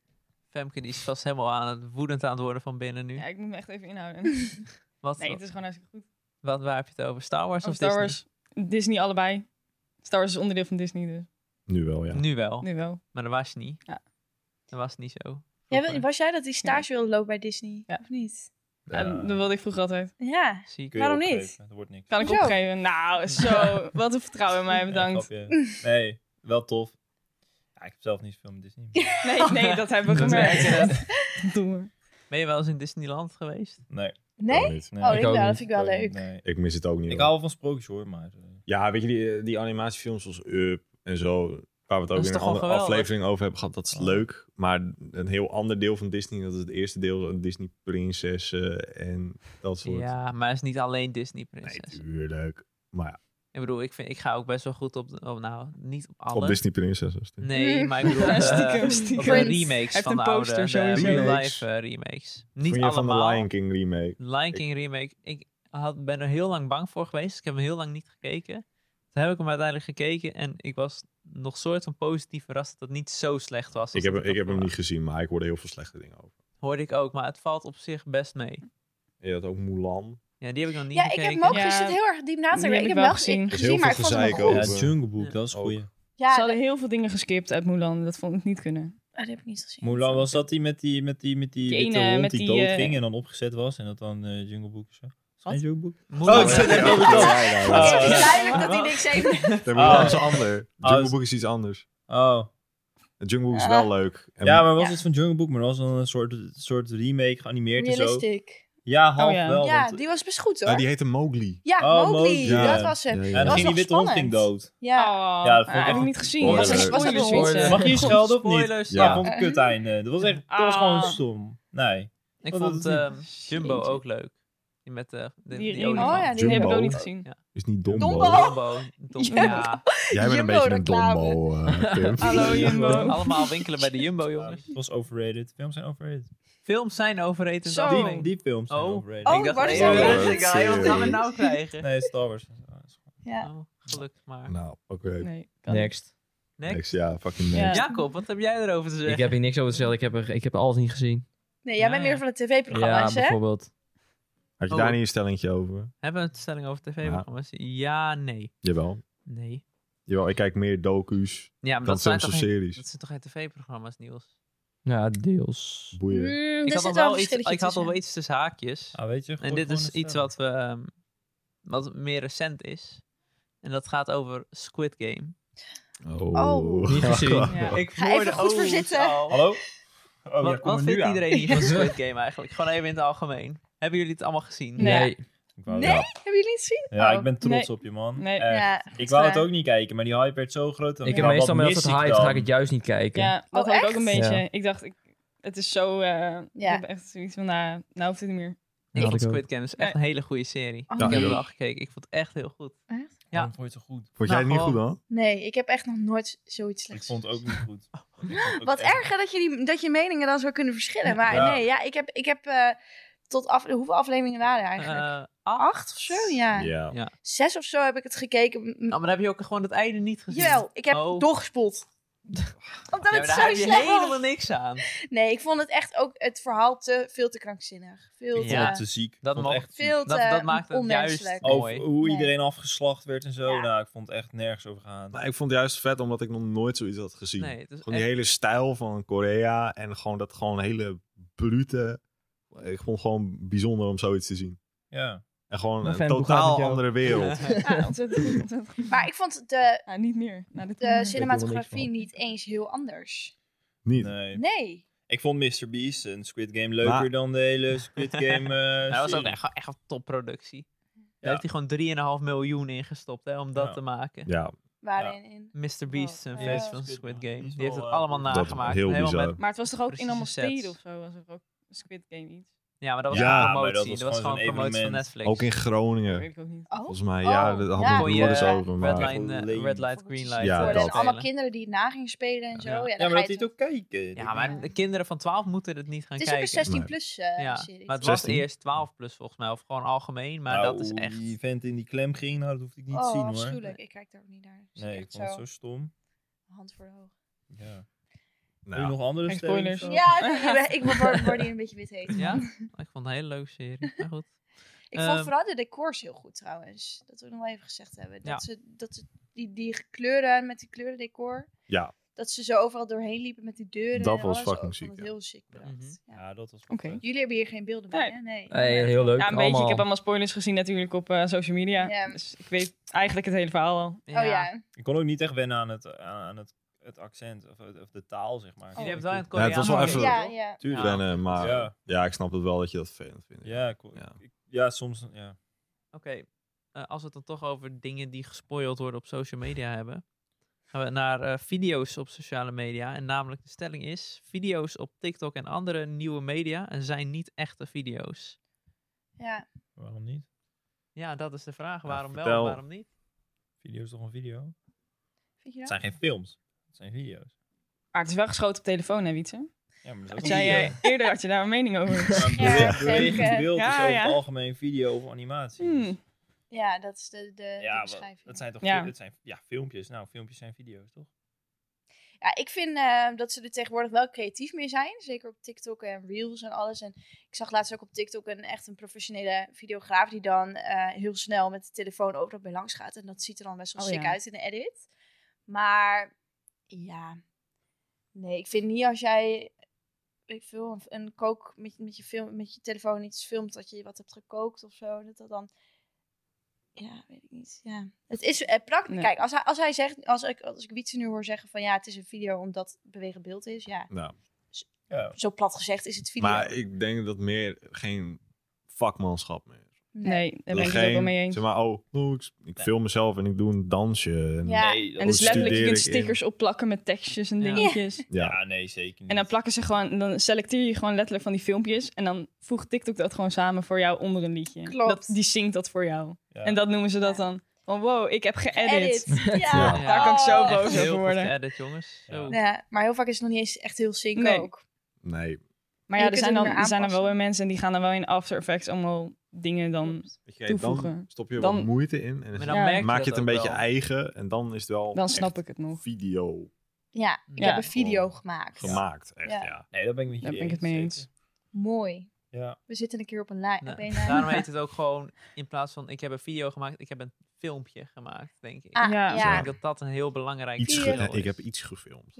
Speaker 1: Femke die is vast helemaal aan het woedend aan het worden van binnen nu.
Speaker 6: Ja, ik moet me echt even inhouden.
Speaker 1: Wat,
Speaker 6: Nee, het is gewoon hartstikke goed.
Speaker 1: wat, waar heb je het over? Star Wars
Speaker 6: Of
Speaker 1: of
Speaker 6: Star
Speaker 1: Disney?
Speaker 6: Wars, Disney allebei. Star Wars is onderdeel van Disney, dus
Speaker 3: Nu wel, ja.
Speaker 1: Nu wel,
Speaker 6: nu wel.
Speaker 1: maar dat was niet.
Speaker 6: Ja.
Speaker 1: Dat was niet zo.
Speaker 4: Jij, wil-
Speaker 1: Vroeger.
Speaker 4: was jij dat die stage wilde lopen bij Disney?
Speaker 6: Ja.
Speaker 4: Of niet?
Speaker 6: Ja, dat wilde ik vroeger altijd.
Speaker 4: Ja.
Speaker 1: Zie ik.
Speaker 7: kun je
Speaker 4: Waarom
Speaker 7: opgeven.
Speaker 4: niet?
Speaker 7: Dat wordt niks.
Speaker 6: Kan ik
Speaker 4: Hoezo?
Speaker 6: opgeven? Nou, zo. Wat een vertrouwen in mij, bedankt.
Speaker 7: Ja, grapje. nee, wel tof. Ja, ik heb zelf niet zoveel met Disney. maar-
Speaker 6: Nee, nee, dat hebben we
Speaker 1: Dat
Speaker 6: gemerkt.
Speaker 1: werkt.
Speaker 6: Doe maar.
Speaker 1: Ben je wel eens in Disneyland geweest?
Speaker 7: Nee.
Speaker 4: Nee?
Speaker 3: niet.
Speaker 7: nee
Speaker 4: Oh,
Speaker 5: ik
Speaker 4: ik
Speaker 5: ook
Speaker 4: wel.
Speaker 5: niet.
Speaker 4: Dat vind ik wel leuk.
Speaker 7: Nee.
Speaker 3: Ik mis het ook niet.
Speaker 7: Ik
Speaker 3: hoor.
Speaker 7: hou wel van sprookjes hoor, maar... eh,
Speaker 3: Ja, weet je, die, die animatiefilms zoals Up en zo, waar we het ook
Speaker 1: is
Speaker 3: in een
Speaker 1: toch wel
Speaker 3: andere
Speaker 1: geweldig?
Speaker 3: aflevering over hebben gehad, dat is
Speaker 7: Oh.
Speaker 3: leuk. Maar een heel ander deel van Disney, dat is het eerste deel, eh, Disney prinsessen en dat soort.
Speaker 1: Ja, maar het is niet alleen Disney
Speaker 3: nee,
Speaker 1: Prinses.
Speaker 3: tuurlijk. Maar ja,
Speaker 1: ik bedoel, ik, vind, ik ga ook best wel goed op, de- op nou, niet op alle.
Speaker 3: op Disney prinsessen. is het.
Speaker 1: Nee, maar ik bedoel, eh,
Speaker 6: Ja, Mm. stiekem,
Speaker 1: op
Speaker 6: stiekem.
Speaker 1: de
Speaker 6: Prince.
Speaker 1: remakes
Speaker 6: heeft
Speaker 1: van
Speaker 6: een
Speaker 1: de
Speaker 6: poster
Speaker 1: oude,
Speaker 6: sowieso.
Speaker 1: de real
Speaker 3: Remakes.
Speaker 1: life eh, remakes. Niet
Speaker 3: Vond je van de
Speaker 1: allemaal.
Speaker 3: Lion King remake?
Speaker 1: Lion King remake. Ik had, ben er heel lang bang voor geweest. Ik heb hem heel lang niet gekeken. Toen heb ik hem uiteindelijk gekeken en ik was nog soort van positief verrast dat het niet zo slecht was. als
Speaker 3: Ik heb,
Speaker 1: dat
Speaker 3: hem- ik heb
Speaker 1: had
Speaker 3: hem niet
Speaker 1: verwacht.
Speaker 3: gezien, maar ik hoorde heel veel slechte dingen over.
Speaker 1: Hoorde ik ook, maar het valt op zich best mee.
Speaker 3: Je had ook Mulan.
Speaker 1: Ja, die heb ik nog niet
Speaker 4: Ja, ik
Speaker 1: gekeken.
Speaker 4: heb hem ook
Speaker 6: Ja.
Speaker 4: gisteren heel erg diep na te
Speaker 6: Die
Speaker 4: denken.
Speaker 6: heb
Speaker 4: Ik
Speaker 6: ik
Speaker 4: heb
Speaker 6: wel
Speaker 4: hem wel gezien,
Speaker 6: gezien.
Speaker 3: Er is heel
Speaker 4: maar ik
Speaker 3: veel
Speaker 4: vond hem wel
Speaker 3: gezeik
Speaker 4: goed.
Speaker 3: over.
Speaker 7: Ja, Jungle Book, dat is
Speaker 3: Ook. Oh,
Speaker 7: goed.
Speaker 4: Ja,
Speaker 6: Ze hadden
Speaker 4: dat-
Speaker 6: heel veel dingen geskipt uit Mulan. Dat vond ik niet kunnen.
Speaker 4: ah, dat heb ik niet gezien.
Speaker 7: Mulan was dat die met die, met die, met die,
Speaker 6: Die
Speaker 7: witte
Speaker 6: ene,
Speaker 7: hond
Speaker 6: met
Speaker 7: die,
Speaker 6: die, eh,
Speaker 7: doodging en dan opgezet was en dat dan eh, Jungle Book of zo? Is het
Speaker 1: Wat?
Speaker 7: geen Jungle Book?
Speaker 1: Mulan.
Speaker 7: Oh, ik zit echt over dat.
Speaker 3: Ja,
Speaker 4: Het
Speaker 7: Oh,
Speaker 4: is
Speaker 7: ja.
Speaker 4: duidelijk dat hij niks heeft.
Speaker 3: De
Speaker 7: Ah.
Speaker 3: Mulan is ander. Jungle
Speaker 7: is-
Speaker 3: Book is iets anders.
Speaker 7: Oh.
Speaker 3: Jungle Book is wel leuk. En
Speaker 7: Ja, maar was
Speaker 4: Ja.
Speaker 7: het van Jungle Book, maar dat was dan een soort, soort remake geanimeerd en zo.
Speaker 4: Realistic.
Speaker 7: Ja, half
Speaker 6: Oh, ja.
Speaker 7: wel.
Speaker 4: Ja,
Speaker 7: want-
Speaker 4: die was best goed hoor.
Speaker 3: Ah, die heette Mowgli.
Speaker 4: Ja,
Speaker 7: Oh,
Speaker 4: Mowgli.
Speaker 7: Mowgli,
Speaker 3: ja.
Speaker 4: Dat was hem.
Speaker 3: Ja, ja.
Speaker 7: en
Speaker 4: was
Speaker 7: eh, dan ging die
Speaker 4: nog
Speaker 7: witte hond ging
Speaker 4: spannend.
Speaker 7: dood.
Speaker 4: Ja.
Speaker 6: Oh,
Speaker 7: Ja, dat vond ik
Speaker 6: ah, heb
Speaker 7: echt-
Speaker 6: ik niet gezien.
Speaker 3: Oh,
Speaker 6: dat
Speaker 3: dat
Speaker 6: is
Speaker 3: is-
Speaker 6: echt
Speaker 4: was dat
Speaker 6: spoilers,
Speaker 4: een hond?
Speaker 6: Wietse.
Speaker 7: Mag je hier schelden of niet?
Speaker 1: Spoilers.
Speaker 3: Ja.
Speaker 7: Ja, vond ik kut einde. Dat was echt, dat was gewoon
Speaker 6: Ah.
Speaker 7: stom. Nee.
Speaker 1: Ik
Speaker 7: Oh, dat
Speaker 1: vond
Speaker 7: is niet-
Speaker 1: ehm, Jumbo
Speaker 6: Jeetje.
Speaker 1: ook leuk. Die met eh, de,
Speaker 6: Die
Speaker 1: die,
Speaker 6: ring.
Speaker 1: olifant.
Speaker 4: Oh ja, Oh.
Speaker 6: Die heb ik
Speaker 3: Jumbo.
Speaker 6: ook niet gezien.
Speaker 3: Is niet Dombo.
Speaker 4: Dombo.
Speaker 1: Jumbo. Dom-
Speaker 6: Jumbo.
Speaker 1: Ja.
Speaker 3: Jij bent een beetje een
Speaker 4: Jumbo-reclame.
Speaker 3: dombo, eh, Tim.
Speaker 6: Hallo Jumbo.
Speaker 1: Allemaal winkelen bij de Jumbo,
Speaker 7: Ja,
Speaker 1: jongens.
Speaker 7: het was overrated. Films zijn overrated.
Speaker 1: Films zijn overrated.
Speaker 6: Zo.
Speaker 1: algemeen.
Speaker 7: Die, die films zijn
Speaker 1: Oh.
Speaker 7: overrated.
Speaker 4: Oh,
Speaker 1: ik dacht,
Speaker 4: wat is
Speaker 1: nee,
Speaker 4: dat?
Speaker 1: jongens,
Speaker 3: Oh,
Speaker 1: ik ga heel wat gaan we
Speaker 3: serieus?
Speaker 1: nou krijgen?
Speaker 7: Nee, Star Wars. Ah,
Speaker 4: Ja.
Speaker 1: Oh, gelukkig maar.
Speaker 3: Nou, oké.
Speaker 6: Nee, kan niet.
Speaker 5: Next.
Speaker 1: Next.
Speaker 3: Next, ja, fucking
Speaker 6: Ja.
Speaker 3: next.
Speaker 1: Jacob, wat heb jij erover te zeggen?
Speaker 5: Ik heb hier niks over te zeggen. Ik heb, er, ik heb alles niet gezien.
Speaker 4: Nee, jij bent
Speaker 1: Ja, ja.
Speaker 4: meer van de
Speaker 5: Ja,
Speaker 4: tv-programma's, hè?
Speaker 5: bijvoorbeeld.
Speaker 3: Had je
Speaker 1: Oh.
Speaker 3: daar niet een stellingje over?
Speaker 1: Hebben we een stelling over tv-programma's? Ja, nee.
Speaker 3: Jawel.
Speaker 1: Nee.
Speaker 3: Jawel, ik kijk meer docu's
Speaker 1: Ja, maar
Speaker 3: dan
Speaker 1: dat zijn,
Speaker 3: films
Speaker 1: toch
Speaker 3: of
Speaker 1: geen,
Speaker 3: series.
Speaker 1: dat zijn toch geen tv-programma's, Niels?
Speaker 5: Ja, deels.
Speaker 3: Boeien.
Speaker 4: Mm,
Speaker 1: ik had
Speaker 4: er
Speaker 1: al
Speaker 4: zit wel
Speaker 1: wel
Speaker 4: een
Speaker 1: iets,
Speaker 4: verschilletje
Speaker 1: ik had al wel
Speaker 4: tussen.
Speaker 1: iets tussen haakjes.
Speaker 7: Ah, weet je, gooi
Speaker 1: en dit
Speaker 7: gewoon eh,
Speaker 1: is
Speaker 7: een
Speaker 1: iets
Speaker 7: stem.
Speaker 1: wat, we, ehm, wat meer recent is. En dat gaat over Squid Game.
Speaker 4: Oh.
Speaker 5: Niet gezien.
Speaker 6: Ja.
Speaker 1: Ik
Speaker 4: Ga even goed
Speaker 1: ooms
Speaker 4: verzitten.
Speaker 1: al.
Speaker 7: Hallo? Oh, ja,
Speaker 1: wat
Speaker 7: kom
Speaker 1: wat
Speaker 7: er nu
Speaker 1: vindt
Speaker 7: aan.
Speaker 1: iedereen hier van Squid Game eigenlijk? Gewoon even in het algemeen. Hebben jullie het allemaal gezien?
Speaker 6: Nee.
Speaker 5: Nee.
Speaker 7: Ik Ik wou-
Speaker 4: Nee?
Speaker 7: Ja.
Speaker 4: Hebben jullie het gezien?
Speaker 7: Ja,
Speaker 4: Oh.
Speaker 7: ik ben trots
Speaker 6: Nee.
Speaker 7: op je, man.
Speaker 6: Nee.
Speaker 7: Echt.
Speaker 4: Ja,
Speaker 7: Ik
Speaker 4: echt
Speaker 7: wou het
Speaker 4: waar.
Speaker 7: ook niet kijken, maar die hype werd zo
Speaker 5: Ik
Speaker 7: groot. Ja,
Speaker 5: heb
Speaker 7: wat
Speaker 5: meestal met als
Speaker 7: mis
Speaker 5: het
Speaker 7: ik
Speaker 5: hype
Speaker 7: dan?
Speaker 5: ga ik het juist niet kijken.
Speaker 6: Ja, dat
Speaker 4: Oh,
Speaker 6: had ik ook
Speaker 4: echt?
Speaker 6: een beetje.
Speaker 5: Ja.
Speaker 6: Ik dacht, ik, het is zo... eh,
Speaker 4: Ja.
Speaker 6: Ik heb echt zoiets van, nou, nou hoeft het niet meer.
Speaker 1: Ik vond
Speaker 5: ook.
Speaker 1: Squid Game is echt een hele goede serie.
Speaker 4: Oh,
Speaker 1: ik heb
Speaker 4: nee.
Speaker 1: het al gekeken. Ik vond het echt heel goed.
Speaker 4: Echt?
Speaker 1: Ja.
Speaker 7: Ik vond het zo goed.
Speaker 3: Vond
Speaker 1: Nou,
Speaker 3: jij het niet goed
Speaker 1: gewoon-
Speaker 3: dan?
Speaker 4: Nee, ik heb echt nog nooit zoiets
Speaker 7: Ik
Speaker 4: slechts
Speaker 7: vond het ook niet goed. Ik vond het ook
Speaker 4: Wat
Speaker 7: echt-
Speaker 4: erg hè, dat je, die, dat je meningen dan zo kunnen verschillen. Maar
Speaker 7: Ja.
Speaker 4: nee, ja, ik heb, ik heb eh, tot af, hoeveel afleveringen waren er eigenlijk?
Speaker 1: Eh,
Speaker 4: Acht of zo, ja.
Speaker 3: Ja.
Speaker 4: Zes of zo heb ik het gekeken. M-
Speaker 1: Oh, maar dan heb je ook gewoon het einde niet gezien.
Speaker 4: Jawel, ik heb
Speaker 1: Oh.
Speaker 4: doorgespoeld. Omdat
Speaker 1: Ja, maar
Speaker 4: het
Speaker 1: daar
Speaker 4: zo
Speaker 1: heb je
Speaker 4: slecht
Speaker 1: helemaal
Speaker 4: was.
Speaker 1: niks aan.
Speaker 4: Nee, ik vond het echt ook het verhaal te, veel te krankzinnig. Veel te,
Speaker 7: Ik vond het te ziek. Ik
Speaker 1: Dat
Speaker 7: vond
Speaker 1: mag-
Speaker 7: het echt ziek.
Speaker 4: veel te
Speaker 1: Dat, dat maakt het
Speaker 4: onmenselijk.
Speaker 1: juist
Speaker 7: Over
Speaker 1: mooi.
Speaker 7: hoe
Speaker 4: Nee.
Speaker 7: iedereen afgeslacht werd en zo.
Speaker 4: Ja.
Speaker 7: Nou, ik vond het echt nergens over gaan.
Speaker 3: Maar ik vond het juist vet omdat ik nog nooit zoiets had gezien.
Speaker 1: Nee, het is
Speaker 3: Gewoon die hele stijl van Korea en gewoon dat gewoon hele brute. Ik vond het gewoon bijzonder om zoiets te zien.
Speaker 7: Ja.
Speaker 3: En gewoon
Speaker 5: Nou,
Speaker 3: een
Speaker 5: Fem, hoe gaat het
Speaker 3: totaal
Speaker 5: jou?
Speaker 3: andere wereld.
Speaker 6: Ja, Ah, ontzettend goed, ontzettend goed.
Speaker 4: Maar ik vond de,
Speaker 6: Ja, niet meer. Nou, dit
Speaker 4: de
Speaker 6: is
Speaker 4: cinematografie niet eens heel anders.
Speaker 3: Niet.
Speaker 7: Nee.
Speaker 4: Nee.
Speaker 7: Ik vond Mr. Beast en Squid Game leuker
Speaker 3: Maar-
Speaker 7: dan de hele Squid Game. eh,
Speaker 1: Nou, dat was ook
Speaker 7: serie.
Speaker 1: echt, echt een topproductie.
Speaker 7: Ja.
Speaker 1: Daar heeft hij gewoon 3,5 miljoen in gestopt hè, om dat
Speaker 7: Ja.
Speaker 1: te maken.
Speaker 3: Ja,
Speaker 4: Waarin in.
Speaker 1: Mr. Beast,
Speaker 4: Oh,
Speaker 1: een
Speaker 4: ja.
Speaker 1: feest
Speaker 7: Ja,
Speaker 1: van
Speaker 7: Squid
Speaker 1: Squid
Speaker 7: Game.
Speaker 1: Game.
Speaker 7: Die is
Speaker 1: Die heeft
Speaker 7: wel,
Speaker 1: het
Speaker 7: eh,
Speaker 1: allemaal
Speaker 3: dat is
Speaker 1: nagemaakt.
Speaker 3: heel
Speaker 1: helemaal
Speaker 3: bizar.
Speaker 1: met-
Speaker 6: Maar het was toch ook in
Speaker 1: Precieze
Speaker 6: allemaal steden
Speaker 1: sets.
Speaker 6: of zo? Was er ook Squid Game iets?
Speaker 1: Ja, maar dat was
Speaker 3: Ja,
Speaker 1: een
Speaker 3: maar
Speaker 1: promotie.
Speaker 7: dat
Speaker 1: Dat
Speaker 7: was
Speaker 1: was,
Speaker 7: gewoon
Speaker 1: gewoon
Speaker 7: zo'n
Speaker 1: een promotie van
Speaker 7: evenement.
Speaker 1: Netflix.
Speaker 3: ook in
Speaker 6: Dat
Speaker 3: Groningen.
Speaker 6: weet ik ook niet.
Speaker 4: Oh,
Speaker 3: Volgens mij, ja,
Speaker 4: Oh,
Speaker 3: dat had
Speaker 4: ja.
Speaker 3: mijn
Speaker 1: Kon
Speaker 3: broer
Speaker 1: je,
Speaker 3: eens
Speaker 1: eh,
Speaker 3: over.
Speaker 1: Red,
Speaker 3: Maar
Speaker 1: line, eh,
Speaker 7: Leven.
Speaker 1: red Light, Green Light.
Speaker 3: Ja,
Speaker 1: eh,
Speaker 4: voor
Speaker 3: dat.
Speaker 4: en allemaal
Speaker 1: spelen.
Speaker 4: kinderen die het na gingen spelen en zo.
Speaker 1: Ja.
Speaker 4: Ja,
Speaker 1: Ja,
Speaker 4: dan
Speaker 7: Ja,
Speaker 4: ga
Speaker 7: maar dat
Speaker 4: je
Speaker 7: hij het
Speaker 4: toch-
Speaker 7: ook kijken.
Speaker 1: Ja, maar de kinderen van 12 moeten het niet gaan
Speaker 4: het is ook
Speaker 1: kijken.
Speaker 4: een 16 plus eh,
Speaker 1: ja,
Speaker 4: serie.
Speaker 1: maar het was
Speaker 3: 16.
Speaker 1: eerst 12 plus volgens mij, of gewoon algemeen, maar
Speaker 7: Nou,
Speaker 1: dat is
Speaker 7: hoe
Speaker 1: echt...
Speaker 7: Die vent in die klem ging, nou, dat hoefde ik niet te
Speaker 4: oh,
Speaker 7: zien hoor.
Speaker 4: afschuwelijk. Ik kijk daar ook niet naar. Dus
Speaker 7: Nee, ik
Speaker 4: echt
Speaker 7: vond het
Speaker 4: zo.
Speaker 7: zo stom.
Speaker 4: Hand voor de oog.
Speaker 7: Ja. Wil je
Speaker 3: nou,
Speaker 7: nog andere
Speaker 6: Geen
Speaker 7: stellingen?
Speaker 6: spoilers.
Speaker 7: of zo?
Speaker 4: Ja, ik ben- ik word, word hier een beetje wit heet.
Speaker 1: Ja, ik vond het een hele leuke serie. Maar goed.
Speaker 4: Ik vond
Speaker 1: Ehm.
Speaker 4: vooral de decors heel goed trouwens. Dat we nog wel even gezegd hebben. Dat
Speaker 1: Ja.
Speaker 4: ze, dat ze die, die kleuren met die kleurendecor.
Speaker 3: Ja.
Speaker 4: Dat ze zo overal doorheen liepen met die deuren.
Speaker 3: Dat
Speaker 4: en
Speaker 3: was
Speaker 4: alles.
Speaker 3: fucking
Speaker 4: Ik vond
Speaker 3: ziek,
Speaker 4: het
Speaker 3: ja.
Speaker 4: heel ziek bedacht.
Speaker 1: Mhm.
Speaker 4: ja.
Speaker 7: Ja, dat was
Speaker 6: Oké.
Speaker 7: wel vet.
Speaker 4: Jullie hebben hier geen beelden bij,
Speaker 6: Nee.
Speaker 4: hè? Nee.
Speaker 5: Hey, heel leuk.
Speaker 6: Ja, een
Speaker 5: allemaal.
Speaker 6: beetje. Ik heb allemaal spoilers gezien natuurlijk op eh, social media.
Speaker 4: Ja.
Speaker 6: Dus ik weet eigenlijk het hele verhaal al.
Speaker 4: Oh ja.
Speaker 7: Ik kon ook niet echt wennen aan het, aan aan het, het accent of, of de taal, zeg maar.
Speaker 4: Oh.
Speaker 1: Jullie hebben het wel in het
Speaker 3: Ja, het was wel
Speaker 1: Koreaans
Speaker 3: even-
Speaker 4: Ja,
Speaker 1: gekeken, toch?
Speaker 4: ja.
Speaker 3: tuurlijk.
Speaker 1: Ja.
Speaker 3: wennen, maar ja.
Speaker 7: Ja.
Speaker 3: ik snap het wel dat je dat vervelend vindt.
Speaker 7: Ja, ik- ik-
Speaker 3: Ja.
Speaker 7: ja. soms. Ja.
Speaker 1: Oké, eh, als we het dan toch over dingen die gespoild worden op social media hebben, gaan we naar eh, video's op sociale media. En namelijk de stelling is: video's op TikTok en andere nieuwe media zijn niet echte video's.
Speaker 4: ja.
Speaker 7: Waarom niet?
Speaker 1: Ja, dat is de vraag. Waarom wel
Speaker 3: vertel.
Speaker 1: en waarom niet?
Speaker 7: Video is toch een video?
Speaker 4: Vind je dat?
Speaker 7: Het zijn geen films. Het zijn video's.
Speaker 6: Maar het is wel geschoten op telefoon, hè, Wietse?
Speaker 7: Ja, maar dat
Speaker 6: Dat
Speaker 7: is ook
Speaker 6: zei
Speaker 7: een
Speaker 6: jij eh,
Speaker 7: video.
Speaker 6: eerder had je daar een mening over.
Speaker 7: Maar een
Speaker 4: Ja,
Speaker 7: bewe-
Speaker 4: zeker.
Speaker 7: bewegend beeld is
Speaker 6: eh, Ja,
Speaker 7: over
Speaker 6: ja.
Speaker 7: het algemeen video of animatie.
Speaker 6: Hmm.
Speaker 4: Ja, dat is de, de, de
Speaker 7: Ja, maar
Speaker 4: beschrijving.
Speaker 7: dat zijn toch
Speaker 6: Ja.
Speaker 7: ja. Dat zijn, ja, filmpjes. Nou, filmpjes zijn video's, toch?
Speaker 4: Ja, ik vind eh, dat ze er tegenwoordig wel creatief mee zijn. Zeker op TikTok en Reels en alles. En ik zag laatst ook op TikTok een echt een professionele videograaf die dan eh, heel snel met de telefoon overal bij langs gaat. En dat ziet er dan best wel
Speaker 6: Oh,
Speaker 4: sick
Speaker 6: ja.
Speaker 4: uit in de edit. Maar ja, nee, ik vind niet als jij weet ik veel, een, een kook met, met, je film, met je telefoon iets filmt dat je wat hebt gekookt of zo. Dat dat dan ja, weet ik niet. Ja. Het is eh, praktisch.
Speaker 6: Nee.
Speaker 4: Kijk, als hij, als hij zegt, als ik, als ik Wietse nu hoor zeggen van ja, het is een video omdat het bewegend beeld is. Ja,
Speaker 3: Nou,
Speaker 7: Ja.
Speaker 4: zo plat gezegd is het video.
Speaker 3: maar ik denk dat meer geen vakmanschap meer.
Speaker 6: Nee, daar ben ik het ook
Speaker 3: Geen,
Speaker 6: wel mee eens.
Speaker 3: Zeg maar, oh, oh, ik, ik film mezelf en ik doe een dansje. En,
Speaker 4: Ja.
Speaker 7: Nee, dat
Speaker 6: En dus
Speaker 3: Hoe
Speaker 6: letterlijk, je
Speaker 3: studeer
Speaker 6: kunt
Speaker 3: ik in?
Speaker 6: stickers opplakken met tekstjes en
Speaker 1: Ja.
Speaker 6: dingetjes.
Speaker 3: ja.
Speaker 7: Ja, nee, zeker niet.
Speaker 6: En dan plakken ze gewoon, dan selecteer je gewoon letterlijk van die filmpjes. En dan voegt TikTok dat gewoon samen voor jou onder een liedje.
Speaker 4: Klopt.
Speaker 6: Dat, die zingt dat voor jou.
Speaker 7: Ja.
Speaker 6: En dat noemen ze dat
Speaker 4: Ja.
Speaker 6: dan. Van wow, ik heb geëdit.
Speaker 4: Edit. Ja.
Speaker 3: Ja.
Speaker 1: Ja.
Speaker 6: Daar kan ik zo
Speaker 4: Oh.
Speaker 1: Echt
Speaker 6: boos
Speaker 1: heel
Speaker 6: over
Speaker 1: goed
Speaker 6: worden.
Speaker 1: geëdit, jongens. Zo.
Speaker 7: Ja.
Speaker 4: Ja, maar heel vaak is het nog niet eens echt heel sync
Speaker 6: Nee.
Speaker 4: ook.
Speaker 3: Nee,
Speaker 6: Maar
Speaker 4: En
Speaker 6: ja,
Speaker 4: je
Speaker 6: er
Speaker 4: kunt
Speaker 6: zijn,
Speaker 4: hem
Speaker 6: dan,
Speaker 4: weer
Speaker 6: er zijn dan wel
Speaker 4: aanpassen.
Speaker 6: weer mensen en die gaan dan wel in After Effects allemaal dingen dan.
Speaker 3: Weet je, dan
Speaker 6: toevoegen.
Speaker 3: stop je
Speaker 6: Dan-
Speaker 3: wat moeite in en
Speaker 1: Maar
Speaker 3: dan
Speaker 1: dan
Speaker 6: Ja.
Speaker 1: merk je
Speaker 3: Dus maak
Speaker 1: dat
Speaker 3: je het een
Speaker 1: ook
Speaker 3: beetje
Speaker 1: wel.
Speaker 3: eigen en dan is het wel
Speaker 6: Dan snap
Speaker 3: echt
Speaker 6: ik het nog.
Speaker 3: video
Speaker 4: Ja, ik
Speaker 1: Ja.
Speaker 4: heb een video gemaakt.
Speaker 3: gemaakt. Echt, ja.
Speaker 4: Ja.
Speaker 7: Nee, dat ben ik met
Speaker 6: Daar
Speaker 7: jullie
Speaker 6: ben ik het mee eens.
Speaker 7: zeker.
Speaker 4: Mooi.
Speaker 7: Ja.
Speaker 4: We zitten een keer op een lijn.
Speaker 1: Nou,
Speaker 4: op een eh, lijn.
Speaker 1: daarom heet het ook gewoon, in plaats van ik heb een video gemaakt, ik heb een filmpje gemaakt, denk ik.
Speaker 4: Ah,
Speaker 6: Ja.
Speaker 4: ja.
Speaker 1: Ik
Speaker 4: Ja.
Speaker 1: denk dat dat een heel belangrijk
Speaker 3: Iets ge-
Speaker 1: verschil
Speaker 3: eh,
Speaker 1: is.
Speaker 3: ik heb iets gefilmd.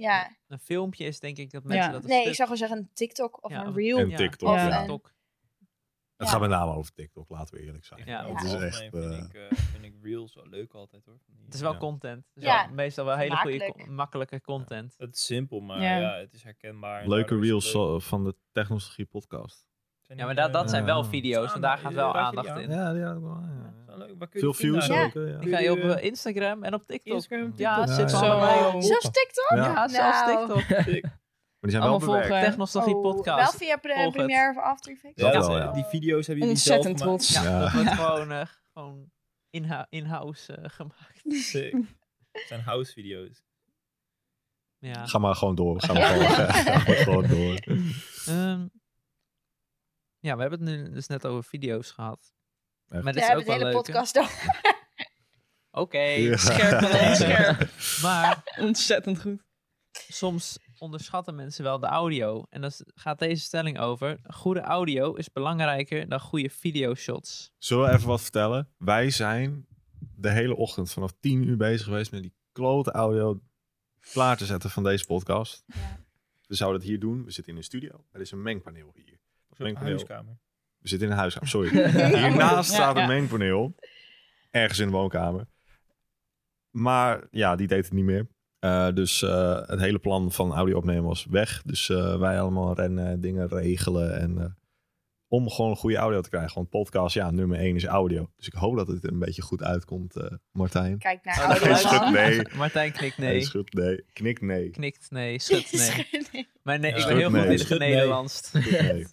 Speaker 1: Een filmpje is denk ik dat mensen
Speaker 6: Ja.
Speaker 1: dat een
Speaker 4: Nee,
Speaker 1: stuk-
Speaker 4: ik zou gewoon zeggen een TikTok of
Speaker 1: Ja, oh.
Speaker 4: een
Speaker 1: of-
Speaker 4: reel.
Speaker 3: En
Speaker 1: Ja.
Speaker 3: TikTok.
Speaker 4: Of
Speaker 3: ja.
Speaker 4: een-
Speaker 1: TikTok.
Speaker 3: Het
Speaker 4: Ja.
Speaker 3: gaat met name over TikTok, laten we eerlijk zijn.
Speaker 1: Ja.
Speaker 3: Het is
Speaker 7: Algemeen
Speaker 3: echt... eh,
Speaker 7: Vind, ik, eh, vind ik reels wel leuk altijd hoor. Van die-
Speaker 1: Het is wel
Speaker 3: Ja.
Speaker 1: content. Het is
Speaker 4: Ja.
Speaker 1: wel meestal wel hele goede,
Speaker 4: Makkelijk.
Speaker 1: co- makkelijke content.
Speaker 7: eh, Het is simpel, maar
Speaker 6: Ja.
Speaker 7: ja, het is herkenbaar. en
Speaker 3: Leuke
Speaker 7: daardoor is het
Speaker 3: reels
Speaker 7: leuk.
Speaker 3: zo- van de Technologie Podcast.
Speaker 1: Ja, maar dat, dat zijn wel video's, want daar gaat wel aandacht in.
Speaker 3: Ja, ja, dat wel, ja. Veel
Speaker 7: Veel
Speaker 3: views
Speaker 4: Ja.
Speaker 3: ook. hè, Ja.
Speaker 1: Die ga je op eh, Instagram en op TikTok.
Speaker 6: Instagram,
Speaker 1: Ja,
Speaker 3: TikTok.
Speaker 1: zit
Speaker 3: Ja,
Speaker 1: zo.
Speaker 3: ja.
Speaker 1: allemaal.
Speaker 6: Zo.
Speaker 4: Zelfs TikTok?
Speaker 3: Ja.
Speaker 1: Ja, zelfs
Speaker 4: Nou.
Speaker 1: TikTok.
Speaker 3: Maar die zijn wel
Speaker 6: Allemaal
Speaker 3: bewerkt.
Speaker 6: volgen.
Speaker 1: Technologie
Speaker 4: Oh, Wel
Speaker 1: podcast.
Speaker 4: via pre-
Speaker 1: Volg het.
Speaker 4: Premiere of After Effects?
Speaker 3: Ja,
Speaker 7: Ja,
Speaker 3: dat wel, ja.
Speaker 7: Die video's hebben jullie zelf
Speaker 6: Ontzettend
Speaker 7: gemaakt.
Speaker 6: trots.
Speaker 1: Ja,
Speaker 3: Ja.
Speaker 1: dat wordt gewoon, eh, gewoon inha- in-house eh, gemaakt.
Speaker 7: Sick. Het zijn house video's.
Speaker 1: Ja.
Speaker 3: Ga maar gewoon door. Ga maar gewoon, ga maar gewoon door.
Speaker 1: Ehm, ja, we hebben het nu dus net over video's gehad.
Speaker 3: Echt?
Speaker 1: Maar
Speaker 4: We
Speaker 1: dit is
Speaker 4: hebben
Speaker 1: ook
Speaker 4: de
Speaker 1: wel
Speaker 4: hele
Speaker 1: leuk. hè?
Speaker 4: podcast over.
Speaker 1: Oké,
Speaker 3: Ja.
Speaker 1: scherp balans.
Speaker 6: Scherp.
Speaker 1: Maar
Speaker 6: Ontzettend goed.
Speaker 1: soms onderschatten mensen wel de audio. En daar gaat deze stelling over. Goede audio is belangrijker dan goede videoshots.
Speaker 3: Zullen we even wat vertellen? Wij zijn de hele ochtend vanaf 10 uur bezig geweest met die klote audio klaar te zetten van deze podcast. We zouden het hier doen. We zitten in een studio. Er is een mengpaneel hier.
Speaker 7: Of
Speaker 3: Denk
Speaker 7: zo'n
Speaker 3: wel.
Speaker 7: huiskamer.
Speaker 3: We zitten in een huiskamer, sorry. Hiernaast
Speaker 6: Ja,
Speaker 3: staat
Speaker 6: ja.
Speaker 3: een mengpaneel. Ergens in de woonkamer. Maar ja, die deed het niet meer. Eh, dus eh, het hele plan van audio opnemen was weg. Dus eh, wij allemaal rennen, dingen regelen. En, eh, om gewoon goede audio te krijgen. Want podcast, ja, nummer één is audio. Dus ik hoop dat het er een beetje goed uitkomt, eh, Martijn.
Speaker 4: Kijk naar
Speaker 1: Oh,
Speaker 4: oude
Speaker 1: dat
Speaker 3: Hij
Speaker 1: is
Speaker 4: mannen.
Speaker 3: schudt nee.
Speaker 1: Martijn knikt
Speaker 3: Hij
Speaker 1: nee.
Speaker 3: schudt nee. Knik nee.
Speaker 1: Knikt nee, schudt nee.
Speaker 4: Schudt nee.
Speaker 1: Maar nee, ik
Speaker 7: Ja.
Speaker 1: ben heel
Speaker 3: Schudt
Speaker 1: goed
Speaker 3: nee.
Speaker 1: in het
Speaker 7: Schudt nee.
Speaker 1: Nederlands.
Speaker 3: Schudt nee.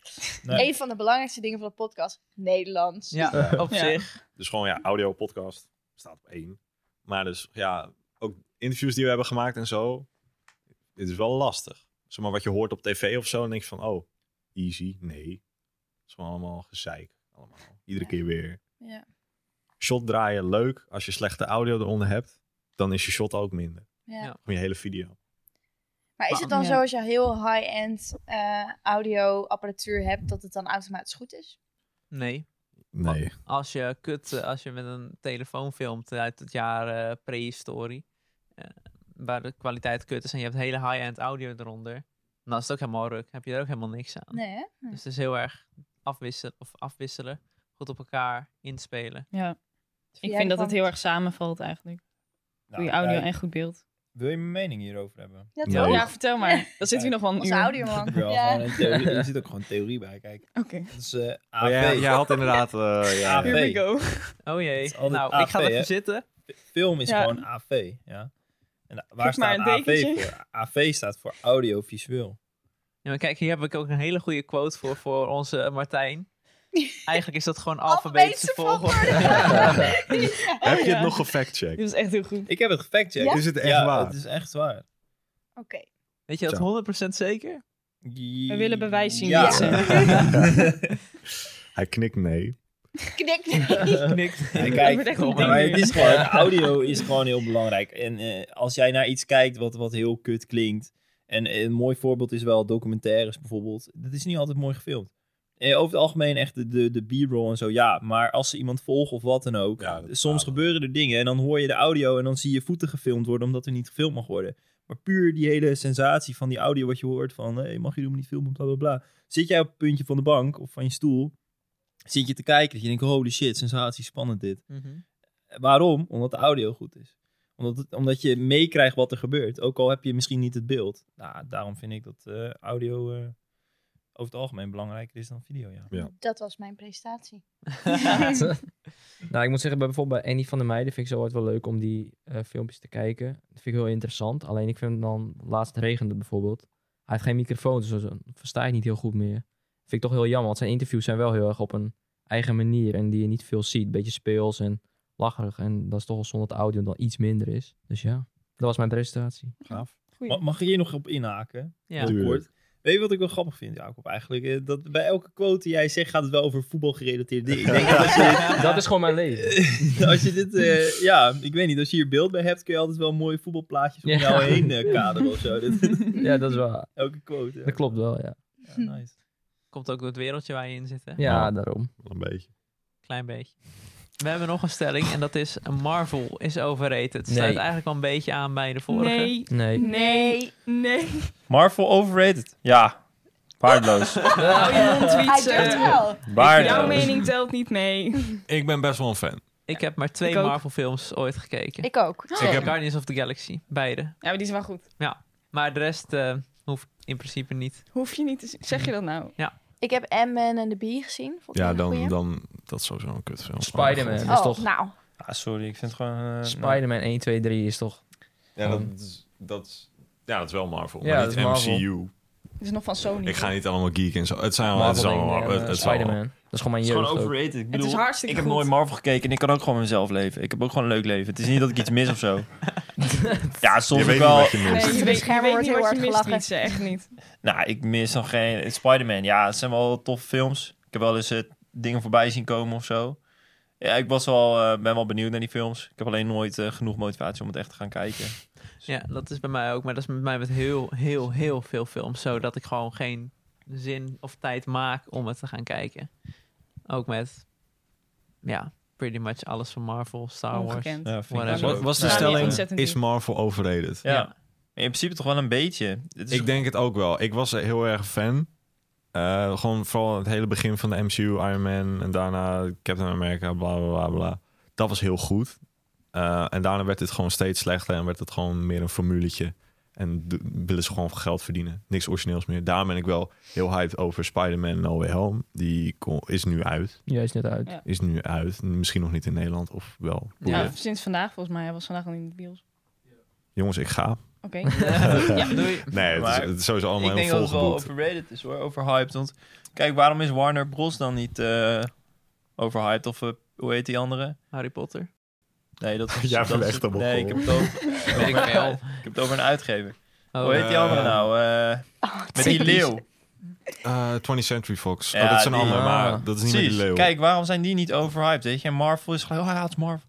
Speaker 7: Nee.
Speaker 4: Een van de belangrijkste dingen van de podcast, Nederlands.
Speaker 1: Ja, op
Speaker 6: Ja.
Speaker 1: zich.
Speaker 3: Dus gewoon ja, audio podcast staat op één. Maar dus ja, ook interviews die we hebben gemaakt en zo. Het is wel lastig. Zeg maar wat je hoort op tv of zo, dan denk je van, oh, easy, nee. Het is gewoon allemaal gezeik. Allemaal. Iedere
Speaker 4: Ja.
Speaker 3: keer weer.
Speaker 4: Ja.
Speaker 3: Shot draaien, leuk. Als je slechte audio eronder hebt, dan is je shot ook minder.
Speaker 4: Ja.
Speaker 1: Ja.
Speaker 3: Gewoon je hele video.
Speaker 4: Maar is het dan
Speaker 6: Ja.
Speaker 4: zo als je heel high-end eh audio apparatuur hebt, dat het dan automatisch goed is?
Speaker 1: Nee.
Speaker 3: Nee.
Speaker 1: Als je kut, eh, als je met een telefoon filmt uit het jaar eh, prehistorie, eh, waar de kwaliteit kut is en je hebt hele high-end audio eronder, dan is het ook helemaal ruk. Heb je er ook helemaal niks aan.
Speaker 4: Nee, hè?
Speaker 1: Dus het is heel erg afwisselen, of afwisselen, goed op elkaar inspelen.
Speaker 6: Ja. Ik
Speaker 4: jij
Speaker 6: vind dat
Speaker 4: ervan?
Speaker 6: het heel erg samenvalt eigenlijk.
Speaker 7: Nou,
Speaker 6: Goede audio
Speaker 7: kijk,
Speaker 6: en goed beeld.
Speaker 7: Wil je mijn mening hierover hebben?
Speaker 4: Ja,
Speaker 3: Nee.
Speaker 4: toch?
Speaker 3: Oh.
Speaker 6: Ja, vertel maar. Dan zit hier nog wel een
Speaker 4: Onze
Speaker 6: uur. Oké.
Speaker 4: audioman.
Speaker 7: Wel,
Speaker 4: Ja.
Speaker 7: gewoon een theorie- er zit ook gewoon theorie bij. Kijk, dat is eh, AV.
Speaker 3: Oh, jij, jij had inderdaad... eh, ja,
Speaker 7: AV.
Speaker 6: Here we go.
Speaker 1: Oh jee.
Speaker 7: Het is altijd
Speaker 1: Nou, ik ga
Speaker 7: AV,
Speaker 1: even
Speaker 7: hè?
Speaker 1: zitten.
Speaker 7: Film is
Speaker 6: Ja.
Speaker 7: gewoon AV. Ja. En waar
Speaker 6: Geef maar
Speaker 7: staat
Speaker 6: een
Speaker 7: AV
Speaker 6: dekentje.
Speaker 7: voor? AV staat voor audiovisueel.
Speaker 1: Ja, maar kijk, hier heb ik ook een hele goede quote voor, voor onze eh, Martijn. Eigenlijk is dat gewoon alfabetische
Speaker 4: Alfabetische
Speaker 1: volgorde.
Speaker 3: Heb je het
Speaker 6: Ja.
Speaker 3: nog gefactcheckt?
Speaker 6: Dit is echt heel goed.
Speaker 7: Ik heb het gefactcheckt.
Speaker 3: Is het echt
Speaker 7: Ja,
Speaker 3: waar?
Speaker 7: het is echt waar.
Speaker 4: Oké.
Speaker 1: Weet je
Speaker 3: Zo.
Speaker 1: dat 100% zeker?
Speaker 7: We
Speaker 6: willen bewijs zien,
Speaker 7: Ja.
Speaker 6: mensen.
Speaker 3: Hij knikt nee.
Speaker 4: Knik, knik.
Speaker 1: Niks.
Speaker 7: Ja,
Speaker 6: Het
Speaker 7: kijk,
Speaker 6: wordt echt een
Speaker 7: maar
Speaker 6: ding
Speaker 7: het
Speaker 6: nu.
Speaker 7: is gewoon, audio is gewoon heel belangrijk. En eh, als jij naar iets kijkt wat, wat heel kut klinkt. En eh, een mooi voorbeeld is wel documentaires bijvoorbeeld. Dat is niet altijd mooi gefilmd. Eh, over het algemeen echt de, de, de b-roll en zo, ja. Maar als ze iemand volgen of wat dan ook.
Speaker 3: Ja, dat
Speaker 7: soms
Speaker 3: gaat.
Speaker 7: gebeuren er dingen en dan hoor je de audio en dan zie je voeten gefilmd worden omdat er niet gefilmd mag worden. Maar puur die hele sensatie van die audio wat je hoort van... Hey, mag je doen, maar niet filmen, bla bla bla. Zit jij op het puntje van de bank of van je stoel... Zit je te kijken dat je denkt, holy shit, sensatie, spannend dit.
Speaker 1: Mhm.
Speaker 7: Waarom? Omdat de audio goed is. Omdat, het- omdat je meekrijgt wat er gebeurt. Ook al heb je misschien niet het beeld. Nou, daarom vind ik dat eh, audio eh, over het algemeen belangrijker is dan video. Ja.
Speaker 4: Dat was mijn presentatie.
Speaker 5: nou, ik moet zeggen, bij bijvoorbeeld bij Annie van der Meijden vind ik zo ooit wel leuk om die eh, filmpjes te kijken. Dat vind ik heel interessant. Alleen ik vind dan, laatst regende het bijvoorbeeld. Hij heeft geen microfoon, dus dan versta je het niet heel goed meer. Vind ik toch heel jammer, want zijn interviews zijn wel heel erg op een eigen manier. En die je niet veel ziet. Beetje speels en lacherig. En dat is toch wel zonder dat audio dan iets minder is. Dus ja, dat was mijn presentatie.
Speaker 3: Gaaf.
Speaker 7: Ma- Mag ik hier nog op inhaken?
Speaker 1: Ja.
Speaker 7: Heel
Speaker 3: Tuurlijk.
Speaker 7: kort. Weet je wat ik wel grappig vind, Jacob, eigenlijk? Eh, Dat bij elke quote die jij zegt gaat het wel over voetbalgerelateerde dingen. Ik denk dat als je,
Speaker 5: Dat is gewoon mijn leven.
Speaker 7: als je dit... eh, ja, ik weet niet. Als je hier beeld bij hebt, kun je altijd wel mooie voetbalplaatjes om
Speaker 5: Ja.
Speaker 7: jou heen eh, kaderen of zo. Dit-
Speaker 5: Ja, dat is wel.
Speaker 7: elke quote. ja.
Speaker 5: Dat klopt wel, ja.
Speaker 7: Ja, nice.
Speaker 1: Komt ook door het wereldje waar je in zit, hè?
Speaker 5: Ja, daarom.
Speaker 3: Wel een beetje.
Speaker 1: Klein beetje. We hebben nog een stelling en dat is Marvel is overrated. Het Sluit
Speaker 5: Nee.
Speaker 1: eigenlijk al een beetje aan bij de vorige.
Speaker 6: Nee.
Speaker 5: Nee.
Speaker 6: Nee. Nee.
Speaker 7: Marvel overrated? Ja. Waardeloos.
Speaker 6: Hou Oh, je mond,
Speaker 4: Hij
Speaker 6: tweets.
Speaker 4: durft wel.
Speaker 6: Jouw
Speaker 7: Waardeloos.
Speaker 6: mening telt niet mee.
Speaker 3: Ik ben best wel een fan.
Speaker 1: Ik heb maar twee
Speaker 6: Ik ook.
Speaker 1: Marvel films ooit gekeken.
Speaker 4: Ik ook.
Speaker 1: Ik heb Guardians of the Galaxy, beide.
Speaker 6: Ja, maar die is wel goed.
Speaker 1: Maar de rest eh, hoeft in principe niet.
Speaker 6: Hoef je niet te zien. Zeg je dat nou?
Speaker 1: Ja.
Speaker 4: Ik heb M-Man en de Bee gezien. Vond ik
Speaker 3: Ja,
Speaker 4: een
Speaker 3: dan,
Speaker 4: goeie.
Speaker 3: dan dat is sowieso een kutfilm.
Speaker 5: Spider-Man.
Speaker 3: Maar goed.
Speaker 5: dat
Speaker 4: oh,
Speaker 5: is toch-
Speaker 4: nou.
Speaker 7: Ah, sorry, ik vind het gewoon... eh, nou,
Speaker 5: Spider-Man 1, 2, 3 is toch...
Speaker 3: Ja,
Speaker 5: Gewoon-
Speaker 3: dat is, dat is, ja, dat is wel Marvel,
Speaker 5: Ja,
Speaker 3: maar
Speaker 5: dat
Speaker 3: niet
Speaker 5: is Marvel.
Speaker 3: MCU.
Speaker 6: Het is nog van Sony.
Speaker 3: Ik ga niet allemaal geek en zo. Het zijn allemaal... Nou, Het is
Speaker 5: Marvel
Speaker 3: allemaal
Speaker 5: dingen,
Speaker 3: het,
Speaker 5: eh,
Speaker 3: het is allemaal-
Speaker 5: Spider-Man. Dat is gewoon mijn
Speaker 7: Het is
Speaker 5: jeugd
Speaker 7: gewoon
Speaker 5: ook.
Speaker 7: overrated. Ik
Speaker 6: Het
Speaker 7: bedoel,
Speaker 6: is
Speaker 7: ik
Speaker 6: hartstikke
Speaker 7: heb
Speaker 6: goed.
Speaker 7: nooit Marvel gekeken en ik kan ook gewoon mezelf leven. Ik heb ook gewoon een leuk leven. Het is niet dat ik iets mis of zo. ja,
Speaker 3: Je
Speaker 7: soms ook
Speaker 3: weet niet
Speaker 7: wel.
Speaker 3: wat je mist.
Speaker 6: Nee, je
Speaker 4: Achter de
Speaker 6: weet, je
Speaker 4: schermen
Speaker 6: weet
Speaker 4: wordt heel
Speaker 6: niet wat
Speaker 4: hard
Speaker 6: je mist,
Speaker 4: gelachen.
Speaker 6: Wietse, echt niet.
Speaker 7: Nou, ik mis nog geen... Spider-Man, ja, het zijn wel toffe films. Ik heb wel eens eh, dingen voorbij zien komen of zo. Ja, ik was wel, eh, ben wel benieuwd naar die films. Ik heb alleen nooit eh, genoeg motivatie om het echt te gaan kijken.
Speaker 1: Ja, dat is bij mij ook. Maar dat is met mij met heel, heel, heel veel films zo. Dat ik gewoon geen zin of tijd maak om het te gaan kijken. Ook met, ja, pretty much alles van Marvel, Star Wars.
Speaker 6: Ongekend.
Speaker 7: Ja, vind ik dus
Speaker 1: Whatever.
Speaker 7: ook.
Speaker 3: Wat was de
Speaker 6: Nou, die
Speaker 3: stelling,
Speaker 6: ontzettend
Speaker 3: is
Speaker 6: diep.
Speaker 3: Marvel overrated?
Speaker 7: Ja. In principe toch wel een beetje. Het is
Speaker 3: Ik denk het ook wel. Ik was heel erg fan. Eh, gewoon vooral het hele begin van de MCU, Iron Man en daarna Captain America, bla bla bla. bla. Dat was heel goed. Eh, en daarna werd het gewoon steeds slechter en werd het gewoon meer een formuletje. En d- willen ze gewoon geld verdienen. Niks origineels meer. Daar ben ik wel heel hyped over Spider-Man No Way Home. Die kon- is nu uit.
Speaker 5: Ja, is net uit.
Speaker 6: Ja.
Speaker 3: Is nu uit. Misschien nog niet in Nederland of wel.
Speaker 6: Ja,
Speaker 3: Boeien.
Speaker 6: Nou, sinds vandaag volgens mij. Hij was vandaag al in de bios.
Speaker 3: Jongens, ik ga.
Speaker 6: Oké.
Speaker 1: ja, doei.
Speaker 3: Nee, het,
Speaker 7: Maar
Speaker 3: is, het is sowieso allemaal
Speaker 7: Ik denk dat
Speaker 3: helemaal
Speaker 7: het wel
Speaker 3: volgeboekt.
Speaker 7: overrated is hoor, overhyped. Want kijk, waarom is Warner Bros dan niet eh, overhyped? Of eh, hoe heet die andere?
Speaker 1: Harry Potter.
Speaker 7: Nee, dat is...
Speaker 3: Jij
Speaker 7: dat
Speaker 3: bent
Speaker 7: is-
Speaker 3: echt een
Speaker 7: Nee, ik heb
Speaker 3: Mongool.
Speaker 7: het over,
Speaker 1: Weet ik veel.
Speaker 7: ik heb het over een uitgever.
Speaker 1: Oh,
Speaker 7: Hoe heet die andere
Speaker 3: Eh,
Speaker 7: nou? Eh,
Speaker 4: Oh,
Speaker 6: Ah.
Speaker 7: met die
Speaker 4: typisch.
Speaker 7: leeuw.
Speaker 3: Eh 20th Century Fox.
Speaker 7: Ja,
Speaker 3: oh, dat is een
Speaker 7: die-
Speaker 3: ander,
Speaker 5: Ah.
Speaker 3: maar dat is niet meer
Speaker 7: Precies.
Speaker 3: de leeuw.
Speaker 7: Kijk, waarom zijn die niet overhyped? Weet je, en Marvel is gewoon... Oh, ja, het is Marvel.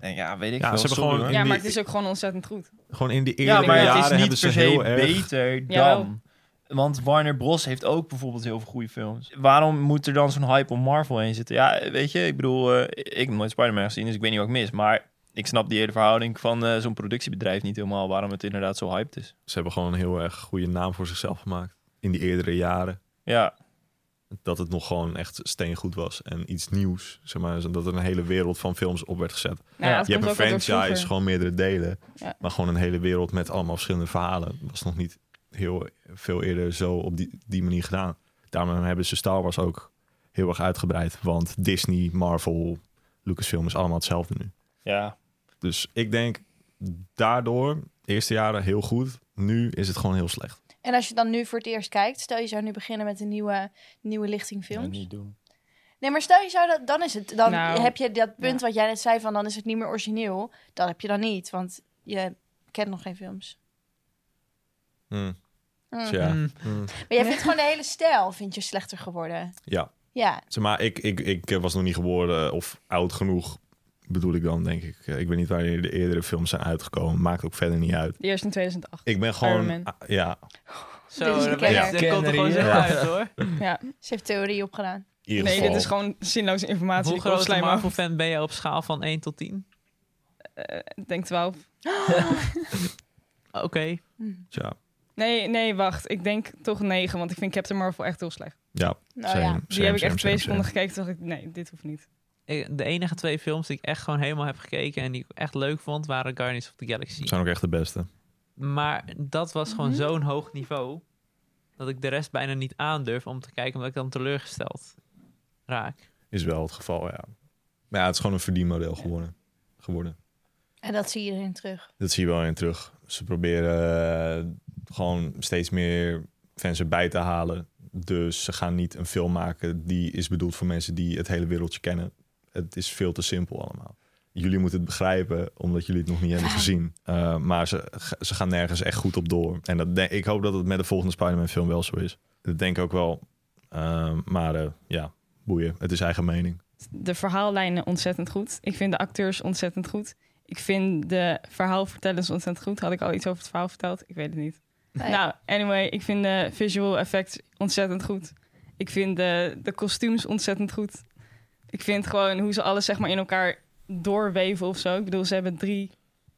Speaker 7: Nee, ja, weet ik
Speaker 3: Ja,
Speaker 7: veel.
Speaker 3: ze hebben
Speaker 7: sorry,
Speaker 3: gewoon-
Speaker 7: hoor.
Speaker 6: Ja, maar het is ook gewoon ontzettend goed. Nou
Speaker 3: Gewoon in die
Speaker 7: Ja,
Speaker 3: eerdere
Speaker 7: maar
Speaker 3: jaren
Speaker 7: het is
Speaker 3: hebben
Speaker 7: niet
Speaker 3: ze
Speaker 7: per
Speaker 3: heel
Speaker 7: se
Speaker 3: erg...
Speaker 7: beter
Speaker 6: Jawel.
Speaker 7: dan... Want Warner Bros. heeft ook bijvoorbeeld heel veel goede films. Waarom moet er dan zo'n hype om Marvel heen zitten? Ja, weet je, ik bedoel, eh, ik heb nooit Spider-Man gezien, dus ik weet niet wat ik mis. Maar ik snap die hele verhouding van eh, zo'n productiebedrijf niet helemaal, waarom het inderdaad zo hyped is.
Speaker 3: Ze hebben gewoon een heel erg goede naam voor zichzelf gemaakt. In die eerdere jaren.
Speaker 7: Ja,
Speaker 3: Dat het nog gewoon echt steengoed was. En iets nieuws. Zeg maar, dat er een hele wereld van films op werd gezet.
Speaker 6: Nou,
Speaker 5: Ja.
Speaker 6: dat
Speaker 3: Je hebt
Speaker 6: komt
Speaker 3: een
Speaker 6: ook wel door
Speaker 3: franchise,
Speaker 6: vroeger.
Speaker 3: gewoon meerdere delen.
Speaker 6: Ja.
Speaker 3: Maar gewoon een hele wereld met allemaal verschillende verhalen. Was nog niet heel veel eerder zo op die, die manier gedaan. Daarom hebben ze Star Wars ook heel erg uitgebreid. Want Disney, Marvel, Lucasfilm is allemaal hetzelfde nu.
Speaker 7: ja.
Speaker 3: Dus ik denk daardoor, de eerste jaren heel goed. Nu is het gewoon heel slecht.
Speaker 4: En als je dan nu voor het eerst kijkt, stel je zou nu beginnen met een nieuwe, nieuwe lichting films.
Speaker 7: niet doen.
Speaker 4: Nee, maar stel je zou dat, dan is het, dan
Speaker 6: Nou,
Speaker 4: heb je dat punt
Speaker 6: ja.
Speaker 4: wat jij net zei van, dan is het niet meer origineel. Dat heb je dan niet, want je kent nog geen films. Mm.
Speaker 3: Dus
Speaker 6: Hmm.
Speaker 3: ja.
Speaker 1: Mm.
Speaker 3: Mm.
Speaker 4: Maar jij vindt gewoon de hele stijl, vind je slechter geworden.
Speaker 3: Ja.
Speaker 4: Ja,
Speaker 3: Zeg maar, ik, ik, ik eh, was nog niet geboren of oud genoeg, bedoel ik dan, denk ik. Eh, Ik weet niet waar de eerdere films zijn uitgekomen. Maakt ook verder niet uit.
Speaker 6: Eerst in 2008.
Speaker 3: Ik ben
Speaker 6: Iron
Speaker 3: gewoon...
Speaker 6: Man.
Speaker 3: ah, ja,
Speaker 1: Zo,
Speaker 4: Dit is
Speaker 1: dat, weet-
Speaker 4: een kenner.
Speaker 1: dat komt er gewoon zo
Speaker 5: Ja.
Speaker 1: uit hoor.
Speaker 6: Ja.
Speaker 4: ze heeft theorie opgedaan.
Speaker 3: in ieder
Speaker 6: Nee,
Speaker 3: geval.
Speaker 6: dit is gewoon zinloze informatie.
Speaker 1: Hoe
Speaker 6: die ik
Speaker 1: groot een
Speaker 6: opslijm af.
Speaker 1: Marvel-fan ben je op schaal van 1 tot 10?
Speaker 6: Ik Eh, Denk 12.
Speaker 1: Oké.
Speaker 4: Mm.
Speaker 3: Ja,
Speaker 6: Nee, nee, wacht. Ik denk toch 9, want ik vind Captain Marvel echt heel slecht.
Speaker 3: ja.
Speaker 4: Nou
Speaker 3: same,
Speaker 4: ja.
Speaker 3: same,
Speaker 6: Die heb ik
Speaker 3: same,
Speaker 6: echt
Speaker 3: same,
Speaker 6: twee seconden
Speaker 3: same.
Speaker 6: gekeken. Toen dacht ik, nee, dit hoeft niet.
Speaker 1: Ik- De enige twee films die ik echt gewoon helemaal heb gekeken en die ik echt leuk vond, waren Guardians of the Galaxy.
Speaker 3: Zijn ook echt de beste.
Speaker 1: Maar dat was
Speaker 6: Mhm.
Speaker 1: gewoon zo'n hoog niveau. Dat ik de rest bijna niet aandurf om te kijken, omdat ik dan teleurgesteld raak.
Speaker 3: Is wel het geval, ja. Maar ja, het is gewoon een verdienmodel geworden. geworden.
Speaker 4: En dat zie je erin terug.
Speaker 3: Dat zie je wel in terug. Ze proberen eh, gewoon steeds meer fans erbij te halen. Dus ze gaan niet een film maken die is bedoeld voor mensen die het hele wereldje kennen. Het is veel te simpel allemaal. Jullie moeten het begrijpen, omdat jullie het nog niet hebben gezien. Eh, maar ze, ze gaan nergens echt goed op door. En dat denk- ik hoop dat het met de volgende Spider-Man film wel zo is. Dat denk ik ook wel. Eh, maar eh, ja, boeien. Het is eigen mening.
Speaker 6: De verhaallijnen ontzettend goed. Ik vind de acteurs ontzettend goed. Ik vind de verhaalvertellers ontzettend goed. Had ik al iets over het verhaal verteld? Ik weet het niet.
Speaker 4: Nee.
Speaker 6: Nou, anyway, ik vind de visual effects ontzettend goed. Ik vind de, de kostuums ontzettend goed. Ik vind gewoon hoe ze alles zeg maar in elkaar doorweven of zo. Ik bedoel, ze hebben drie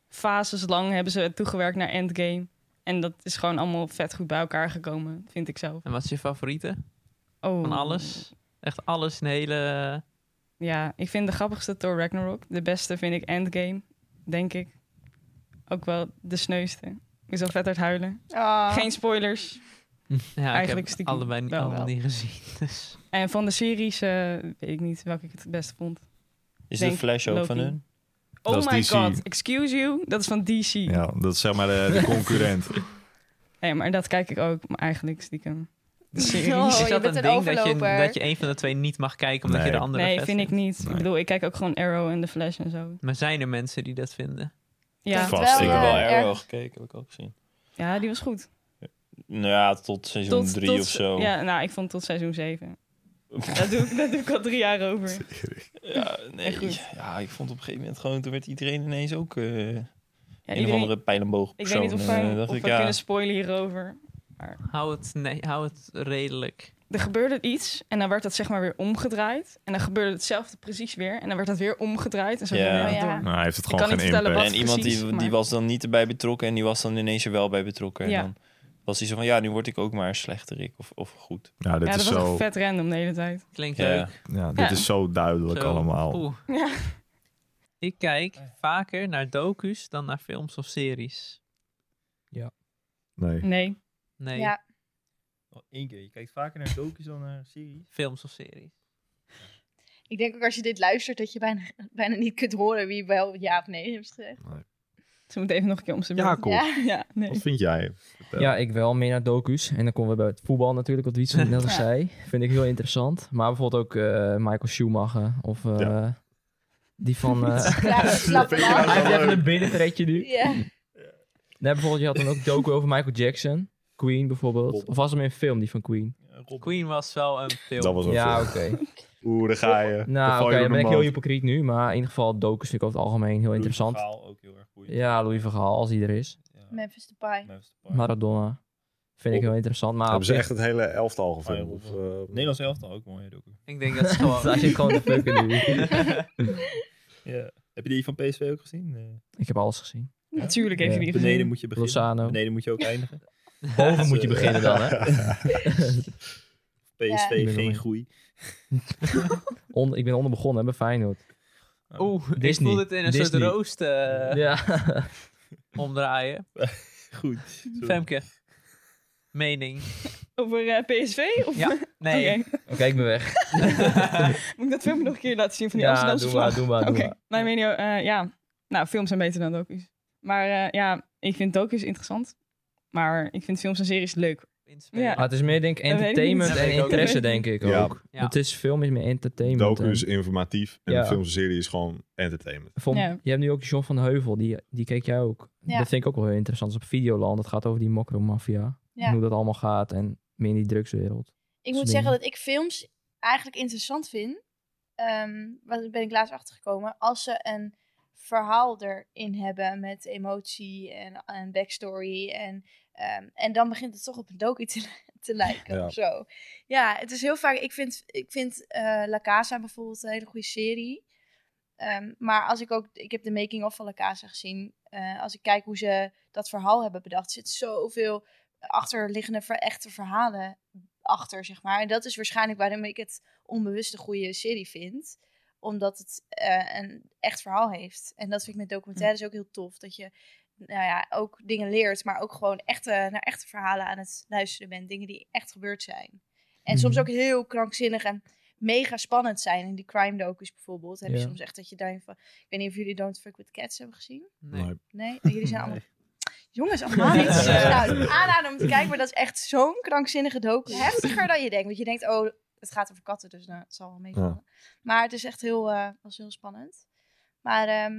Speaker 6: fases lang hebben ze toegewerkt naar Endgame. En dat is gewoon allemaal vet goed bij elkaar gekomen, vind ik zelf.
Speaker 1: En wat is je favoriete
Speaker 6: Oh.
Speaker 1: van alles? Echt alles, een hele...
Speaker 6: Ja, ik vind de grappigste Thor Ragnarok. De beste vind ik Endgame, denk ik. Ook wel de sneuste. Ik zal vet uit huilen.
Speaker 4: Ah.
Speaker 6: Geen spoilers.
Speaker 1: Ja,
Speaker 6: Eigenlijk
Speaker 1: ik heb
Speaker 6: stiekem
Speaker 1: allebei niet,
Speaker 6: wel
Speaker 1: allemaal
Speaker 6: wel.
Speaker 1: niet gezien. Dus.
Speaker 6: En van de series eh, weet ik niet welke ik het beste vond.
Speaker 7: Is
Speaker 6: Denk
Speaker 7: de Flash ook
Speaker 6: Loki.
Speaker 7: van hun?
Speaker 6: Oh
Speaker 3: Dat is
Speaker 6: my
Speaker 3: DC.
Speaker 6: god, excuse you. Dat is van DC.
Speaker 3: Ja, dat is zeg maar de, de concurrent.
Speaker 6: Nee, maar dat kijk ik ook, maar eigenlijk stiekem. De
Speaker 1: Dus
Speaker 6: series.
Speaker 4: Oh,
Speaker 1: is
Speaker 4: je
Speaker 1: dat
Speaker 4: bent
Speaker 1: een
Speaker 4: een
Speaker 1: ding dat je,
Speaker 4: overloper.
Speaker 1: dat je een van de twee niet mag kijken omdat je
Speaker 3: Nee.
Speaker 1: de andere
Speaker 6: Nee,
Speaker 1: vet
Speaker 6: vind ik niet.
Speaker 3: Nee.
Speaker 6: Ik bedoel, ik kijk ook gewoon Arrow en The Flash en zo.
Speaker 1: Maar zijn er mensen die dat vinden?
Speaker 4: Oh.
Speaker 6: Ja,
Speaker 3: Vast,
Speaker 7: ik heb
Speaker 3: eh,
Speaker 7: wel
Speaker 4: erg.
Speaker 7: Arrow gekeken, heb ik ook gezien.
Speaker 6: ja die was goed.
Speaker 7: Nou ja, tot seizoen 3 of zo.
Speaker 6: Ja, nou, ik vond tot seizoen 7. Dat doe, ik, dat doe ik al drie jaar over.
Speaker 7: Ja,
Speaker 6: Echt
Speaker 7: nee.
Speaker 6: goed.
Speaker 7: Ja, ik vond op een gegeven moment gewoon, toen werd iedereen ineens ook eh
Speaker 6: Ja,
Speaker 7: een of
Speaker 6: iedereen-
Speaker 7: andere eh, pijlenboog
Speaker 6: ik weet niet of, we- of we kunnen spoilen hierover.
Speaker 1: Hou het, nee, hou het redelijk.
Speaker 6: Er gebeurde iets en dan werd dat zeg maar weer omgedraaid. En dan gebeurde hetzelfde precies weer. En dan werd dat weer omgedraaid. En zo
Speaker 7: Ja.
Speaker 6: ging het
Speaker 4: Oh, ja.
Speaker 6: door.
Speaker 3: Maar hij heeft het
Speaker 6: Ik
Speaker 3: gewoon geen
Speaker 6: kan niet vertellen
Speaker 3: impact.
Speaker 6: wat-
Speaker 7: en iemand die,
Speaker 6: precies, maar-
Speaker 7: die was dan niet erbij betrokken en die was dan ineens er wel bij betrokken.
Speaker 6: Ja.
Speaker 7: En dan was hij zo van, ja, nu word ik ook maar slechterik of, of goed.
Speaker 3: Ja, dit
Speaker 6: Ja, dat
Speaker 3: is
Speaker 6: was
Speaker 3: zo,
Speaker 6: echt vet random de hele tijd.
Speaker 1: Klinkt
Speaker 7: Ja.
Speaker 1: leuk.
Speaker 3: ja, dit
Speaker 6: Ja.
Speaker 3: is zo duidelijk
Speaker 1: Zo.
Speaker 3: allemaal.
Speaker 1: Oeh.
Speaker 6: Ja.
Speaker 1: Ik kijk vaker naar docu's dan naar films of series.
Speaker 3: Nee.
Speaker 6: Nee.
Speaker 1: Nee,
Speaker 4: Ja,
Speaker 7: Eén keer, je kijkt vaker naar docu's dan naar series.
Speaker 1: films of series.
Speaker 4: ik denk ook als je dit luistert dat je bijna, bijna niet kunt horen wie wel ja of nee heeft gezegd.
Speaker 6: Ze moeten even nog een keer om zijn beurt.
Speaker 3: Jacob,
Speaker 4: Ja.
Speaker 6: Ja, nee.
Speaker 3: wat vind jij? Vertel.
Speaker 5: Ja, ik wel meer naar docu's. En dan komen we bij het voetbal natuurlijk, wat Wietse net al
Speaker 6: Ja.
Speaker 5: zei. Vind ik heel interessant. Maar bijvoorbeeld ook eh, Michael Schumacher of eh,
Speaker 3: Ja.
Speaker 5: die van... eh,
Speaker 4: Ja, slap
Speaker 3: vind je nou
Speaker 5: Hij
Speaker 4: man.
Speaker 5: heeft even een binnentreetje nu.
Speaker 4: Ja.
Speaker 5: Nee, bijvoorbeeld je had dan ook docu over Michael Jackson. Queen bijvoorbeeld.
Speaker 7: Bob.
Speaker 5: Of was hem in een film, die van Queen?
Speaker 1: Queen was wel een film.
Speaker 3: Dat was ook
Speaker 5: Ja,
Speaker 3: zo.
Speaker 5: oké.
Speaker 3: Oeh, daar ga je.
Speaker 5: Nou,
Speaker 3: gooi je
Speaker 5: oké, dan
Speaker 3: door
Speaker 5: ben
Speaker 3: de
Speaker 5: ik heel
Speaker 3: mand.
Speaker 5: hypocriet nu. Maar in ieder geval, docu's vind ik over het algemeen heel interessant.
Speaker 7: ook heel erg boeiend.
Speaker 5: Ja, Louis van Gaal, als hij er is.
Speaker 4: Memphis Depay.
Speaker 5: Maradona. Vind ik heel interessant. Maar op
Speaker 3: Oh. Hebben ze
Speaker 5: zich-
Speaker 3: echt het hele elftal gefilmd?
Speaker 7: Ah, ja,
Speaker 3: Of, eh,
Speaker 7: Nederlands elftal ook mooi docu.
Speaker 1: Ik denk dat ze gewoon...
Speaker 5: Daar zit gewoon de fucker nu.
Speaker 7: Ja. Heb je die van PSV ook gezien? Nee.
Speaker 5: Ik heb alles gezien.
Speaker 6: Natuurlijk heeft
Speaker 5: Ja.
Speaker 6: hij die
Speaker 7: Beneden
Speaker 6: gezien.
Speaker 7: moet je beginnen.
Speaker 5: Lozano.
Speaker 7: Beneden moet je ook eindigen.
Speaker 5: Boven moet je beginnen dan, hè?
Speaker 7: PSV,
Speaker 5: Ja.
Speaker 7: geen groei.
Speaker 5: Onder, ik ben onder begonnen hè, bij Feyenoord.
Speaker 1: Oeh, ik
Speaker 5: Disney.
Speaker 1: voel het in een soort
Speaker 5: Disney.
Speaker 1: roost eh,
Speaker 5: ja.
Speaker 1: omdraaien.
Speaker 7: Goed.
Speaker 1: Femke. Mening.
Speaker 6: Over eh, PSV? Of...
Speaker 1: Ja. Nee.
Speaker 6: Oké.
Speaker 5: Oké, ik ben weg.
Speaker 6: Moet ik dat filmpje nog een keer laten zien van die
Speaker 5: Ja,
Speaker 6: Amsterdamse
Speaker 5: doe
Speaker 6: vlag?
Speaker 5: maar, doe maar, doe
Speaker 6: Oké,
Speaker 5: maar.
Speaker 6: mijn mening, eh, ja. Nou, films zijn beter dan docu's. Maar eh, ja, ik vind docu's interessant. Maar ik vind films en series leuk.
Speaker 1: Inspelen.
Speaker 6: Ja.
Speaker 5: Ah, het is meer denk ik
Speaker 6: Dat weet ik niet.
Speaker 5: entertainment
Speaker 1: Dat
Speaker 5: en
Speaker 1: weet ik ook
Speaker 5: interesse,
Speaker 6: niet.
Speaker 5: denk ik
Speaker 3: Ja.
Speaker 5: ook.
Speaker 1: Ja.
Speaker 5: Het is veel meer meer entertainment.
Speaker 3: Docu is
Speaker 5: hè.
Speaker 3: informatief en
Speaker 5: Ja.
Speaker 3: de filmserie is gewoon entertainment.
Speaker 5: Vond-
Speaker 6: Ja.
Speaker 5: Je hebt nu ook John van Heuvel, die, die keek jij ook.
Speaker 4: Ja.
Speaker 5: Dat vind ik ook wel heel interessant. Dat is op Videoland, dat gaat over die mokromafia.
Speaker 4: Ja.
Speaker 5: Hoe dat allemaal gaat en meer in die drugswereld.
Speaker 4: Ik moet
Speaker 5: Slim.
Speaker 4: zeggen dat ik films eigenlijk interessant vind. Ehm Daar ben ik laatst achtergekomen. Als ze een verhaal erin hebben met emotie en, en backstory. En, ehm, en dan begint het toch op een docu te, te lijken
Speaker 3: Ja.
Speaker 4: of zo. Ja, het is heel vaak... Ik vind, ik vind eh, La Casa bijvoorbeeld een hele goede serie. Ehm, maar als ik ook... Ik heb de making-of van La Casa gezien. Eh, als ik kijk hoe ze dat verhaal hebben bedacht. Er zit zoveel achterliggende ver, echte verhalen achter, zeg maar. En dat is waarschijnlijk waarom ik het onbewust een goede serie vind. Omdat het eh, een echt verhaal heeft. En dat vind ik met documentaires
Speaker 5: Mm.
Speaker 4: ook heel tof. Dat je nou ja, ook dingen leert, maar ook gewoon echte, naar echte verhalen aan het luisteren bent. Dingen die echt gebeurd zijn. En soms
Speaker 5: Mhm.
Speaker 4: ook heel krankzinnig en mega spannend zijn. In die crime docus bijvoorbeeld heb je
Speaker 5: Ja.
Speaker 4: soms echt dat je denkt van... Ik weet niet of jullie Don't Fuck With Cats hebben gezien?
Speaker 1: Nee.
Speaker 3: Nee.
Speaker 4: Nee? Oh, jullie zijn allemaal... Jongens, allemaal niet. Nou, aanraden om te kijken, maar dat is echt zo'n krankzinnige docu. Heftiger dan je denkt. Want je denkt, oh, het gaat over katten, dus nou, het zal wel meevallen. Maar het is echt heel, eh, was heel spannend. Maar ehm,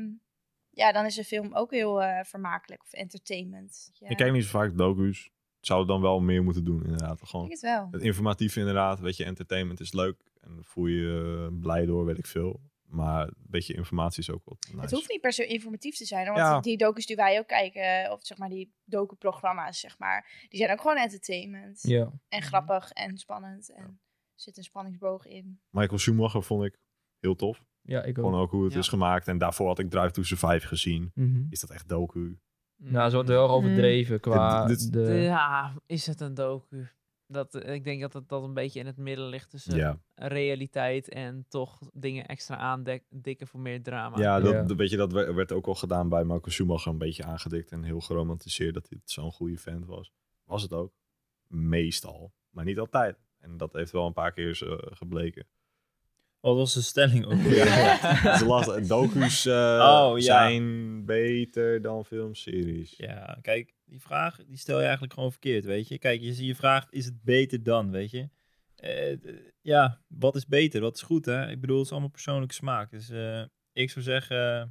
Speaker 4: ja, dan is de film ook heel eh, vermakelijk of entertainment. Ja,
Speaker 3: Ik kijk niet zo vaak docu's. Zou het dan wel meer moeten doen, inderdaad.
Speaker 4: ik
Speaker 3: Gewoon
Speaker 4: het wel.
Speaker 3: het informatief, inderdaad. Weet je, entertainment is leuk. En daar voel je je eh, blij door, weet ik veel. Maar een beetje informatie is ook wel nice.
Speaker 4: Het hoeft niet per se informatief te zijn. hoor, Want
Speaker 3: Ja.
Speaker 4: die docus die wij ook kijken, eh, of zeg maar die docu-programma's, zeg maar, die zijn ook gewoon entertainment.
Speaker 5: Ja.
Speaker 4: En grappig en spannend. En er zit een spanningsboog in.
Speaker 3: Michael Schumacher vond ik heel tof.
Speaker 5: ja, ik ook.
Speaker 3: Gewoon ook hoe het
Speaker 1: Ja.
Speaker 3: is gemaakt. En daarvoor had ik Drive to Survive gezien.
Speaker 5: Mhm.
Speaker 3: Is dat echt docu?
Speaker 5: Nou, ze wordt heel erg overdreven qua
Speaker 3: Dit- dit-
Speaker 5: de...
Speaker 1: Ja, is het een docu? Dat, eh, ik denk dat het, dat een beetje in het midden ligt tussen
Speaker 3: Ja,
Speaker 1: realiteit en toch dingen extra aandikken voor meer drama.
Speaker 3: ja, dat,
Speaker 5: Ja.
Speaker 3: dat- Weet je, dat we- werd ook al gedaan bij Michael Schumacher. Een beetje aangedikt en heel geromantiseerd dat hij zo'n goede fan was. Was het ook. Meestal, maar niet altijd. En dat heeft wel een paar keer eh, gebleken.
Speaker 7: Wat was de stelling ook?
Speaker 3: Ja.
Speaker 7: weer?
Speaker 3: Het is lastig. Docu's eh,
Speaker 7: Oh, ja.
Speaker 3: zijn beter dan filmseries.
Speaker 7: Ja, kijk, die vraag die stel je eigenlijk gewoon verkeerd, weet je. Kijk, je, je vraagt, is het beter dan, weet je? Eh, d- ja, wat is beter? Wat is goed, hè? Ik bedoel, het is allemaal persoonlijke smaak. Dus eh, ik zou zeggen, eh,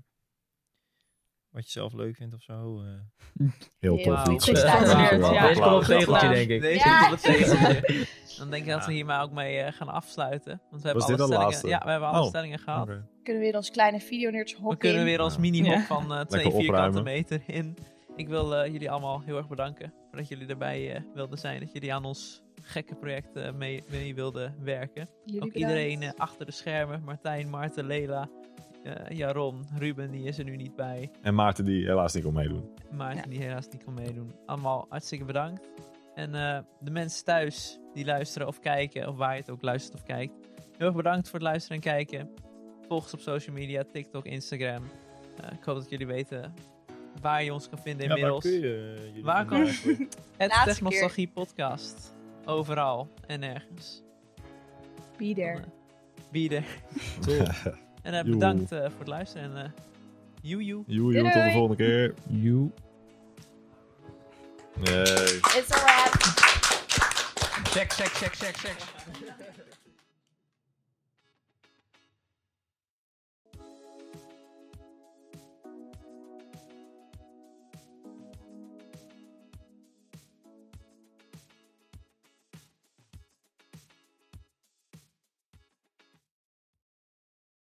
Speaker 7: wat je zelf leuk vindt of zo. eh.
Speaker 3: Heel
Speaker 4: Ja.
Speaker 3: tof.
Speaker 4: Wauw.
Speaker 3: iets.
Speaker 4: Ik sta
Speaker 3: Dank je
Speaker 6: er weer,
Speaker 3: wel.
Speaker 6: ja.
Speaker 5: Deze komt op
Speaker 6: Applaus.
Speaker 5: het tegeltje, denk ik.
Speaker 1: Deze
Speaker 4: Ja.
Speaker 1: komt op het tegeltje. Dan denk ik dat we
Speaker 7: Ja.
Speaker 1: hier maar ook mee eh, gaan afsluiten. Want we hebben
Speaker 3: Was
Speaker 1: alle
Speaker 3: dit de
Speaker 1: stellingen,
Speaker 3: laatste?
Speaker 1: Ja, we hebben alle
Speaker 3: Oh,
Speaker 1: stellingen gehad.
Speaker 3: Oké.
Speaker 4: Kunnen we weer ons kleine videonerds
Speaker 1: We
Speaker 4: hokken
Speaker 1: kunnen
Speaker 4: in.
Speaker 1: weer ons
Speaker 3: Ja.
Speaker 1: minimum
Speaker 6: Ja.
Speaker 1: van eh, twee
Speaker 3: Lekker
Speaker 1: vierkante
Speaker 3: opruimen.
Speaker 1: meter in. Ik wil eh, jullie allemaal heel erg bedanken voor dat jullie erbij eh, wilden zijn. Dat jullie aan ons gekke project eh, mee, mee wilden werken.
Speaker 4: Jullie
Speaker 1: Ook
Speaker 4: bedankt.
Speaker 1: iedereen eh, achter de schermen. Martijn, Maarten, Lela, eh, Jaron, Ruben, die is er nu niet bij.
Speaker 3: En Maarten die helaas niet kon meedoen.
Speaker 1: Maarten
Speaker 6: Ja.
Speaker 1: die helaas niet kon meedoen. Allemaal hartstikke bedankt. En eh, de mensen thuis die luisteren of kijken, of waar je het ook luistert of kijkt. Heel erg bedankt voor het luisteren en kijken. Volg ons op social media, TikTok, Instagram. Eh, ik hoop dat jullie weten waar je ons kan vinden
Speaker 7: Ja, waar
Speaker 1: inmiddels.
Speaker 7: kun je, eh, jullie
Speaker 1: Waar
Speaker 7: vandaan
Speaker 1: kun-
Speaker 7: eigenlijk?
Speaker 1: Het
Speaker 4: Laatste
Speaker 1: Technostalgie podcast. Overal en ergens.
Speaker 4: Be there.
Speaker 1: Dan, eh, Bieden. En eh,
Speaker 3: Joe.
Speaker 1: bedankt eh, voor het luisteren. En eh joe joe.
Speaker 3: Joe, joe, tot de
Speaker 4: Doei.
Speaker 3: volgende keer.
Speaker 5: You.
Speaker 3: Nee.
Speaker 4: It's a wrap.
Speaker 5: Check, check, check, check, check.